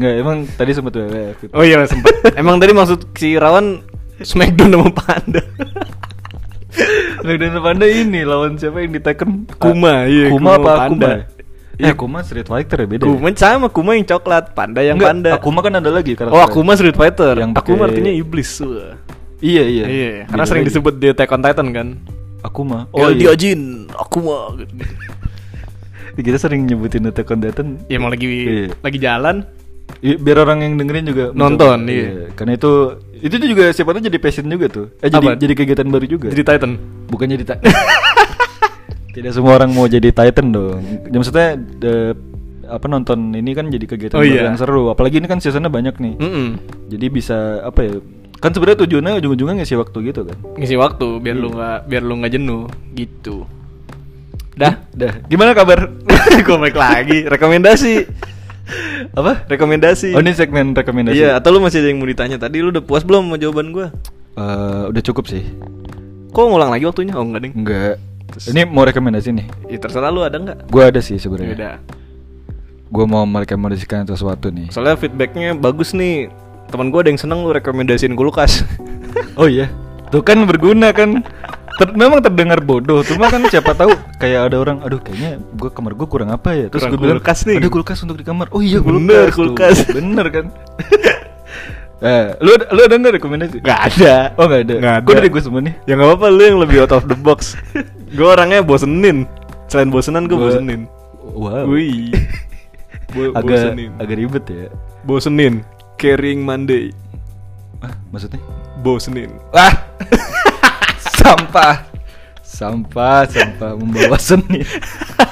Enggak, emang tadi sempet WWF. gitu. Oh iya sempet Emang tadi maksud si Rawan Smackdown sama Panda Legend of Panda ini lawan siapa yang di Tekken? Kuma, iya, Kuma, Kuma apa Panda. Akuma? Eh, Kuma Street Fighter ya beda. ya? Kuma sama Kuma yang coklat, panda yang Enggak, panda. Akuma kan ada lagi karakter. Oh, Akuma Street Fighter. Yang Yang Akuma pakai- artinya iblis. Wah. Iya, iya. Iya, karena Beda sering lagi. disebut di Attack on Titan kan. Akuma. Oh, iya. Diojin, Akuma gitu. Kita sering nyebutin Attack on Titan. Ya mau lagi Iya. lagi jalan. I- Iya, biar orang yang dengerin juga Nonton, mencoba. iya. Karena itu itu tuh juga siapa tahu jadi passion juga tuh. Eh Apa? jadi jadi kegiatan baru juga. Jadi Titan. bukan jadi [laughs] Titan. Tidak semua orang mau jadi Titan dong. Ya, maksudnya the- apa nonton ini kan jadi kegiatan Oh, baru iya. Hmm. yang seru. Apalagi ini kan seasonnya banyak nih. Mm-mm. Jadi bisa apa ya? Kan sebenarnya tujuannya ujung-ujungnya ngisi waktu gitu kan. Ngisi waktu biar Iya. lu nggak biar lu nggak jenuh gitu. [laughs] Dah, Dah. Gimana kabar? gue balik lagi. Rekomendasi. apa? Rekomendasi. Oh ini segmen rekomendasi. Iya, atau lu masih ada yang mau ditanya? Tadi lu udah puas belum sama jawaban gua? Eh, udah cukup sih. Kok ngulang lagi waktunya? Oh, enggak, Ding. Enggak. Ini mau rekomendasi nih. Ya terserah lu ada enggak? Gua ada sih Ya sebenarnya. udah. Gua mau merekomendasikan sesuatu nih. Soalnya feedbacknya bagus nih. Teman gua ada yang seneng lu rekomendasiin [laughs] kulkas. [laughs] Oh iya, tuh kan berguna kan. Ter- memang terdengar bodoh, cuma kan siapa tahu kayak ada orang, aduh kayaknya gua kamar gua kurang apa ya. Terus Kurang gue bilang, kulkas nih. ada kulkas untuk di kamar. Oh iya kulkas. Bener, tuh. kulkas. [laughs] Bener kan. [laughs] eh, lu ada- lu ada nggak rekomendasi? Gak ada. Oh nggak ada. Nggak Kok ada. dari gue semua nih? Ya nggak apa-apa lu yang lebih out of the box. gua orangnya bosenin. Selain bosenan gua Gua- bosenin. Wow. Wih. Bo- agak bosenin. agak ribet ya. Bosenin. Carrying Monday. Ah, maksudnya? Bosenin. Wah. sampah. Sampah, sampah membawa seni.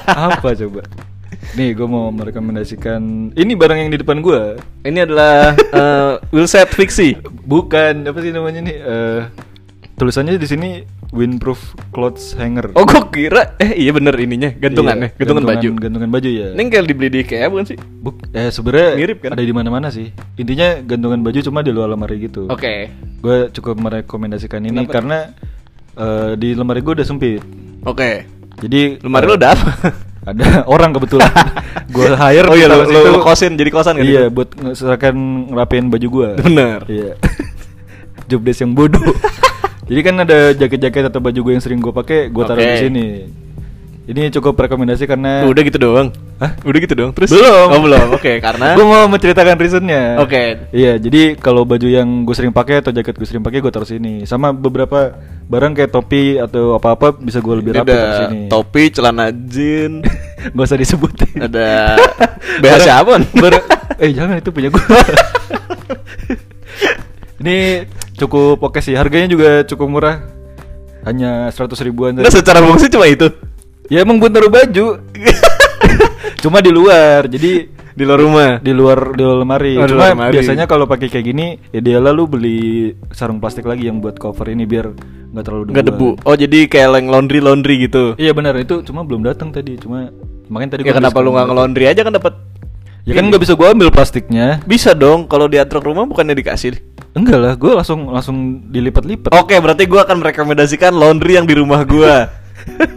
Apa coba? Nih, gue mau merekomendasikan ini barang yang di depan gue. Ini [laughs] adalah eh, Wilset fiksi. Bukan, apa sih namanya nih? Eh, tulisannya di sini windproof clothes hanger. Oh gua kira eh iya bener ininya gantungannya, Iya, gantungan, baju. Gantungan baju ya. Ini kayak dibeli di IKEA bukan sih? Buk, eh sebenarnya Mirip kan? ada di mana-mana sih. Intinya gantungan baju cuma di luar lemari gitu. Oke. Gue cukup merekomendasikan ini Kenapa? karena eh, di lemari gue udah sempit. Oke. Jadi eh, Lemari lu udah apa? ada [laughs] orang [laughs] kebetulan gue hire Oh iya minta lu, ke lu- situ. lu kosin jadi kosan kan? iya itu? buat misalkan ngerapiin baju gua Bener. iya [laughs] job desk yang bodoh [laughs] jadi kan ada jaket-jaket atau baju gue yang sering gue pakai gue taruh Oke. di sini ini cukup rekomendasi karena Udah gitu doang. Eh. Hah? Udah gitu doang. Terus belum Oh belum. Oke, [laughs] karena gue mau menceritakan reasonnya Oke. iya jadi kalau baju yang gue sering pakai atau jaket gue sering pakai gue taruh sini sama beberapa barang kayak topi atau apa-apa bisa gue lebih Ini rapi ada taruh sini topi, celana [laughs] jeans, Gak usah disebutin ada ya, BH Barang- siapa? [laughs] barang- eh jangan itu punya gue. Ini cukup oke sih, harganya juga cukup murah. Hanya 100 ribuan Nah, tadi. secara fungsi cuma itu. Ya emang gue taruh [laughs] baju. Cuma di luar. Jadi Di luar rumah. [laughs] di luar di luar lemari. Oh, di Cuma luar lemari. biasanya kalau pakai kayak gini, idealnya lu beli sarung plastik lagi yang buat cover ini biar nggak terlalu debu. Enggak debu. Oh, jadi kayak yang laundry-laundry gitu. Iya benar itu cuma belum datang tadi. Cuma makanya tadi Ya gua kenapa habis- lu nggak ngelondri aja kan dapat Ya kan nggak bisa gua ambil plastiknya. bisa dong kalau diantar ke rumah bukannya dikasih. Enggak lah, gue langsung langsung dilipat-lipat. Oke, berarti gua akan merekomendasikan laundry yang di rumah gua. [laughs]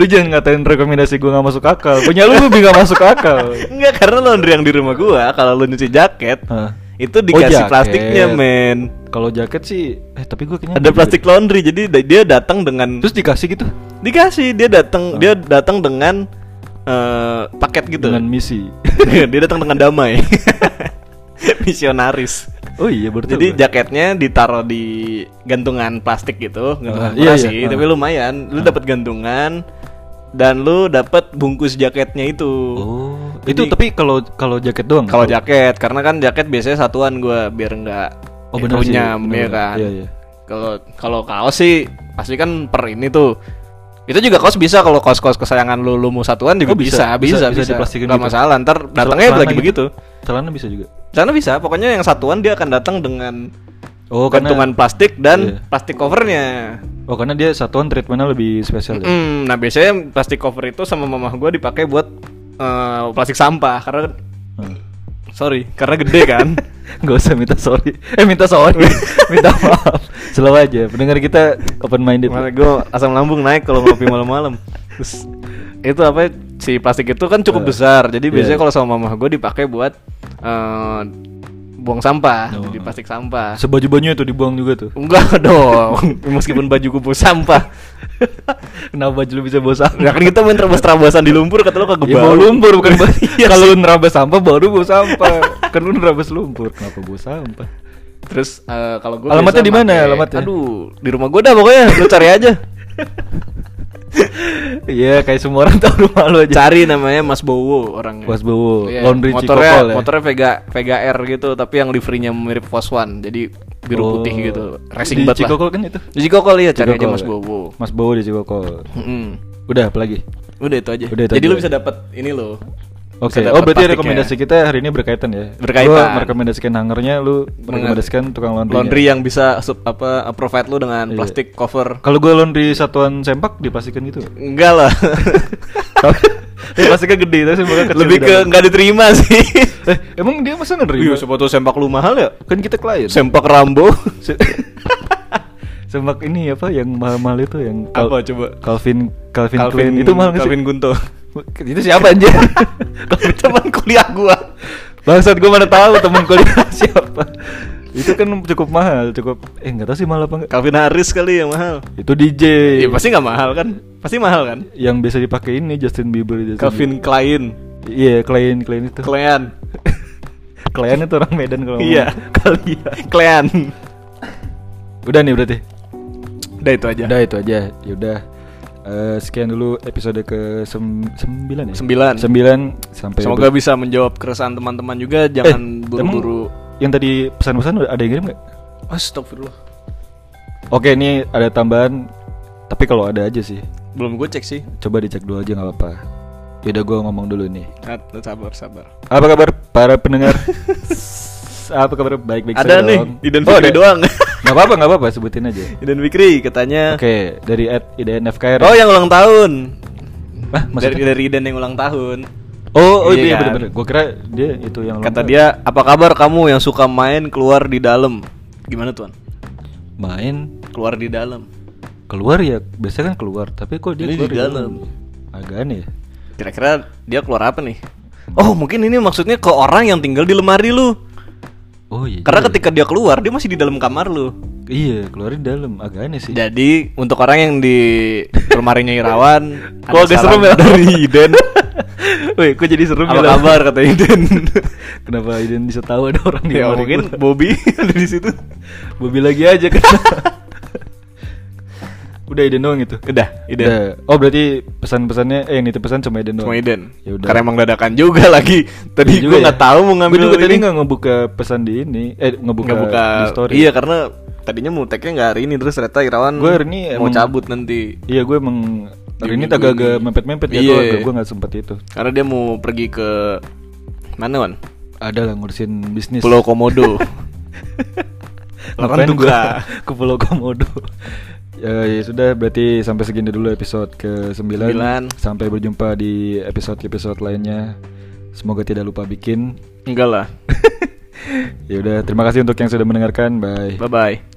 Lu jangan ngatain rekomendasi gue gak masuk akal. Punya lu lebih gak masuk [laughs] akal. Enggak, karena laundry yang di rumah gua kalau lu nyuci jaket Hah. itu Oh, dikasih jaket. plastiknya, men. Kalau jaket sih, eh tapi gue kayaknya Ada plastik laundry jadi da- dia datang dengan Terus dikasih gitu dikasih dia Oh. datang dia datang dengan eh, paket gitu. dengan misi. [laughs] dia datang dengan damai. [laughs] Misionaris. Oh iya berarti. Jadi jaketnya ditaruh di gantungan plastik gitu, Ah, gantungan iya, murah iya, sih, ah. tapi lumayan. Lu dapat gantungan dan lu dapat bungkus jaketnya itu. Oh, Jadi- itu tapi kalau kalau jaket doang. Kalau jaket, karena kan jaket biasanya satuan gua biar nggak Oh, bener sih, runyam, bener, ya bener. kan. Iya, iya. Kalau kalau kaos sih pasti kan per ini tuh. Itu juga kaos bisa kalau kaos-kaos kesayangan lu lu mau satuan Oh, juga bisa, bisa, bisa, bisa diplastikin Nggak gitu. masalah, ntar datangnya Celana lagi gitu. begitu. celana bisa juga. Sana bisa, pokoknya yang satuan dia akan datang dengan Oh, karena gantungan plastik Iya. dan plastik covernya. Oh, karena dia satuan treatmentnya lebih spesial ya. Mm, nah biasanya plastik cover itu sama mamah gue dipakai buat eh, plastik sampah karena Hmm. sorry karena gede kan. [laughs] Gak usah minta sorry Eh minta sorry [laughs] Minta maaf Selalu aja Pendengar kita open minded Makanya gue asam lambung naik kalau ngopi malam-malam. Terus itu apa ya, si plastik itu kan cukup Eh, besar. Jadi iya, biasanya iya. kalau sama mamah gue dipakai buat eh, buang sampah, Oh. jadi plastik sampah. Sebaju-bajunya tuh dibuang juga tuh. Enggak [laughs] dong, meskipun bajuku bau sampah. Kenapa baju lu bisa bawa sampah? Ya kan kita main terabas-terabasan di lumpur kata lu kagak Ya, bau. bawa lumpur [laughs] bukan bawa. Iya Kalau lu nerabas sampah baru bawa sampah. kan lu nerabas lumpur, kenapa bawa [laughs] sampah? Terus eh, kalau gua Alamatnya biasa di mana pakai- alamatnya? Aduh, di rumah gua dah pokoknya, lu cari aja. Iya, kayak semua orang tahu rumah lu aja. cari namanya Mas Bowo orangnya. Mas Bowo, Iya, laundry motornya, Cikopol ya? Motornya Vega Vega R gitu, tapi yang liverynya mirip Fos One, jadi biru Oh. putih gitu. Racing Di banget Cikokol lah. kan itu? Di Cikokol iya, cari aja Cikokol. ya? Mas Bowo. Mas Bowo di Cikokol. Mm-mm. Udah, apa lagi? Udah itu aja. Udah itu Jadi aja. ya? lu bisa dapat ini lo. Oke, oh berarti rekomendasi kita hari ini berkaitan ya? Berkaitan. Gua merekomendasikan hangernya, lu merekomendasikan tukang laundry. laundry ya. yang bisa sup, apa provide lu dengan Iya. plastik cover. Kalau gua laundry satuan sempak dipastikan [laughs] gitu. Enggak lah. [laughs] Tapi plastiknya gede, tapi sempaknya kecil Lebih di ke dalam. nggak diterima sih. Eh, emang dia masa Iya, nerima? sepatu sempak lu mahal ya? Kan kita klien. Sempak Rambo. Se- [laughs] sempak ini apa yang mahal-mahal itu yang Apa coba? Calvin Calvin, Klein itu mahal nggak sih? Calvin Gunto. Itu siapa [laughs] anjir? [laughs] Calvin teman kuliah gua. Bangsat gua mana tahu temen [laughs] kuliah siapa. Itu kan cukup mahal, cukup eh nggak tahu sih mahal apa enggak. Calvin Harris kali yang mahal. Itu DJ. Iya pasti nggak mahal kan? Pasti mahal kan? yang biasa dipakai ini Justin Bieber Justin Calvin Klein. Bieber. Iya, klien klien itu. Klean. Klien itu orang Medan kalau ngomong. [laughs] Iya. Kalian. Klean. Udah nih berarti. Udah itu aja. Udah itu aja. Ya udah. Eh, sekian dulu episode ke sem sembilan ya. Sembilan. Sembilan sampai. Semoga bisa menjawab keresahan teman-teman juga. Eh, Jangan emang buru-buru. Yang tadi pesan-pesan udah ada yang kirim nggak? Astagfirullah. Oke, ini ada tambahan. Tapi kalau ada aja sih, Belum gue cek sih. coba dicek dulu aja nggak apa-apa. Yaudah gue ngomong dulu nih. Nat, sabar, sabar. Apa kabar para [laughs] pendengar? apa kabar baik-baik saja ada nih, dong? Idan Oh, Fikri ada. [laughs] doang. Gak apa-apa, gak apa-apa, sebutin aja Idan Fikri katanya. Oke, dari at IDNFKR Oh, yang ulang tahun. Hah, Ah, Dari, maksudnya? dari Idan yang ulang tahun. Oh, oh Iya iya kan? bener-bener Gue kira dia itu yang Kata lama. dia, apa kabar kamu yang suka main keluar di dalam? Gimana tuan? Main, Keluar di dalam. keluar ya, biasanya kan keluar Tapi kok dia Ini di keluar ya? dalam. Agak aneh ya Kira-kira dia keluar apa nih? Oh, mungkin ini maksudnya ke orang yang tinggal di lemari lu. Oh iya Karena juga. ketika dia keluar, dia masih di dalam kamar lu. Iya, keluar di dalam, agak aneh sih Jadi untuk orang yang di lemarinya [laughs] Irawan, Kok agak serem ya? dari Iden. [laughs] Wih, kok jadi [laughs] serem ya? apa kabar kata [laughs] Iden? Kenapa Iden bisa tahu ada orang di ya luar mungkin gua? Bobby [laughs] ada di situ. Bobi lagi aja kan [laughs] Udah Iden doang itu Udah, Iden. Udah. Oh berarti pesan-pesannya, eh yang nitip pesan cuma Iden doang Cuma Iden. Ya udah. Karena emang dadakan juga lagi. Tadi Iya gue juga nggak tahu mau ngambil Gua juga tadi ini. nggak ngebuka pesan di ini eh ngebuka, Nggak buka. di story Iya karena tadinya mau tag-nya nggak hari ini terus ternyata Irawan Gua hari ini mau emang- cabut nanti. iya gue emang hari ini Minggu agak-agak ini. mepet-mepet ya Iya. gue gue nggak sempet itu Karena dia mau pergi ke mana Wan? ada lah ngurusin bisnis Pulau [laughs] Komodo. Ngapain Larantuka. gua [laughs] ke Pulau Komodo ya, ya sudah berarti sampai segini dulu episode ke 9 Sembilan. sampai berjumpa di episode episode lainnya semoga tidak lupa bikin Enggak lah. ya udah terima kasih untuk yang sudah mendengarkan bye Bye bye.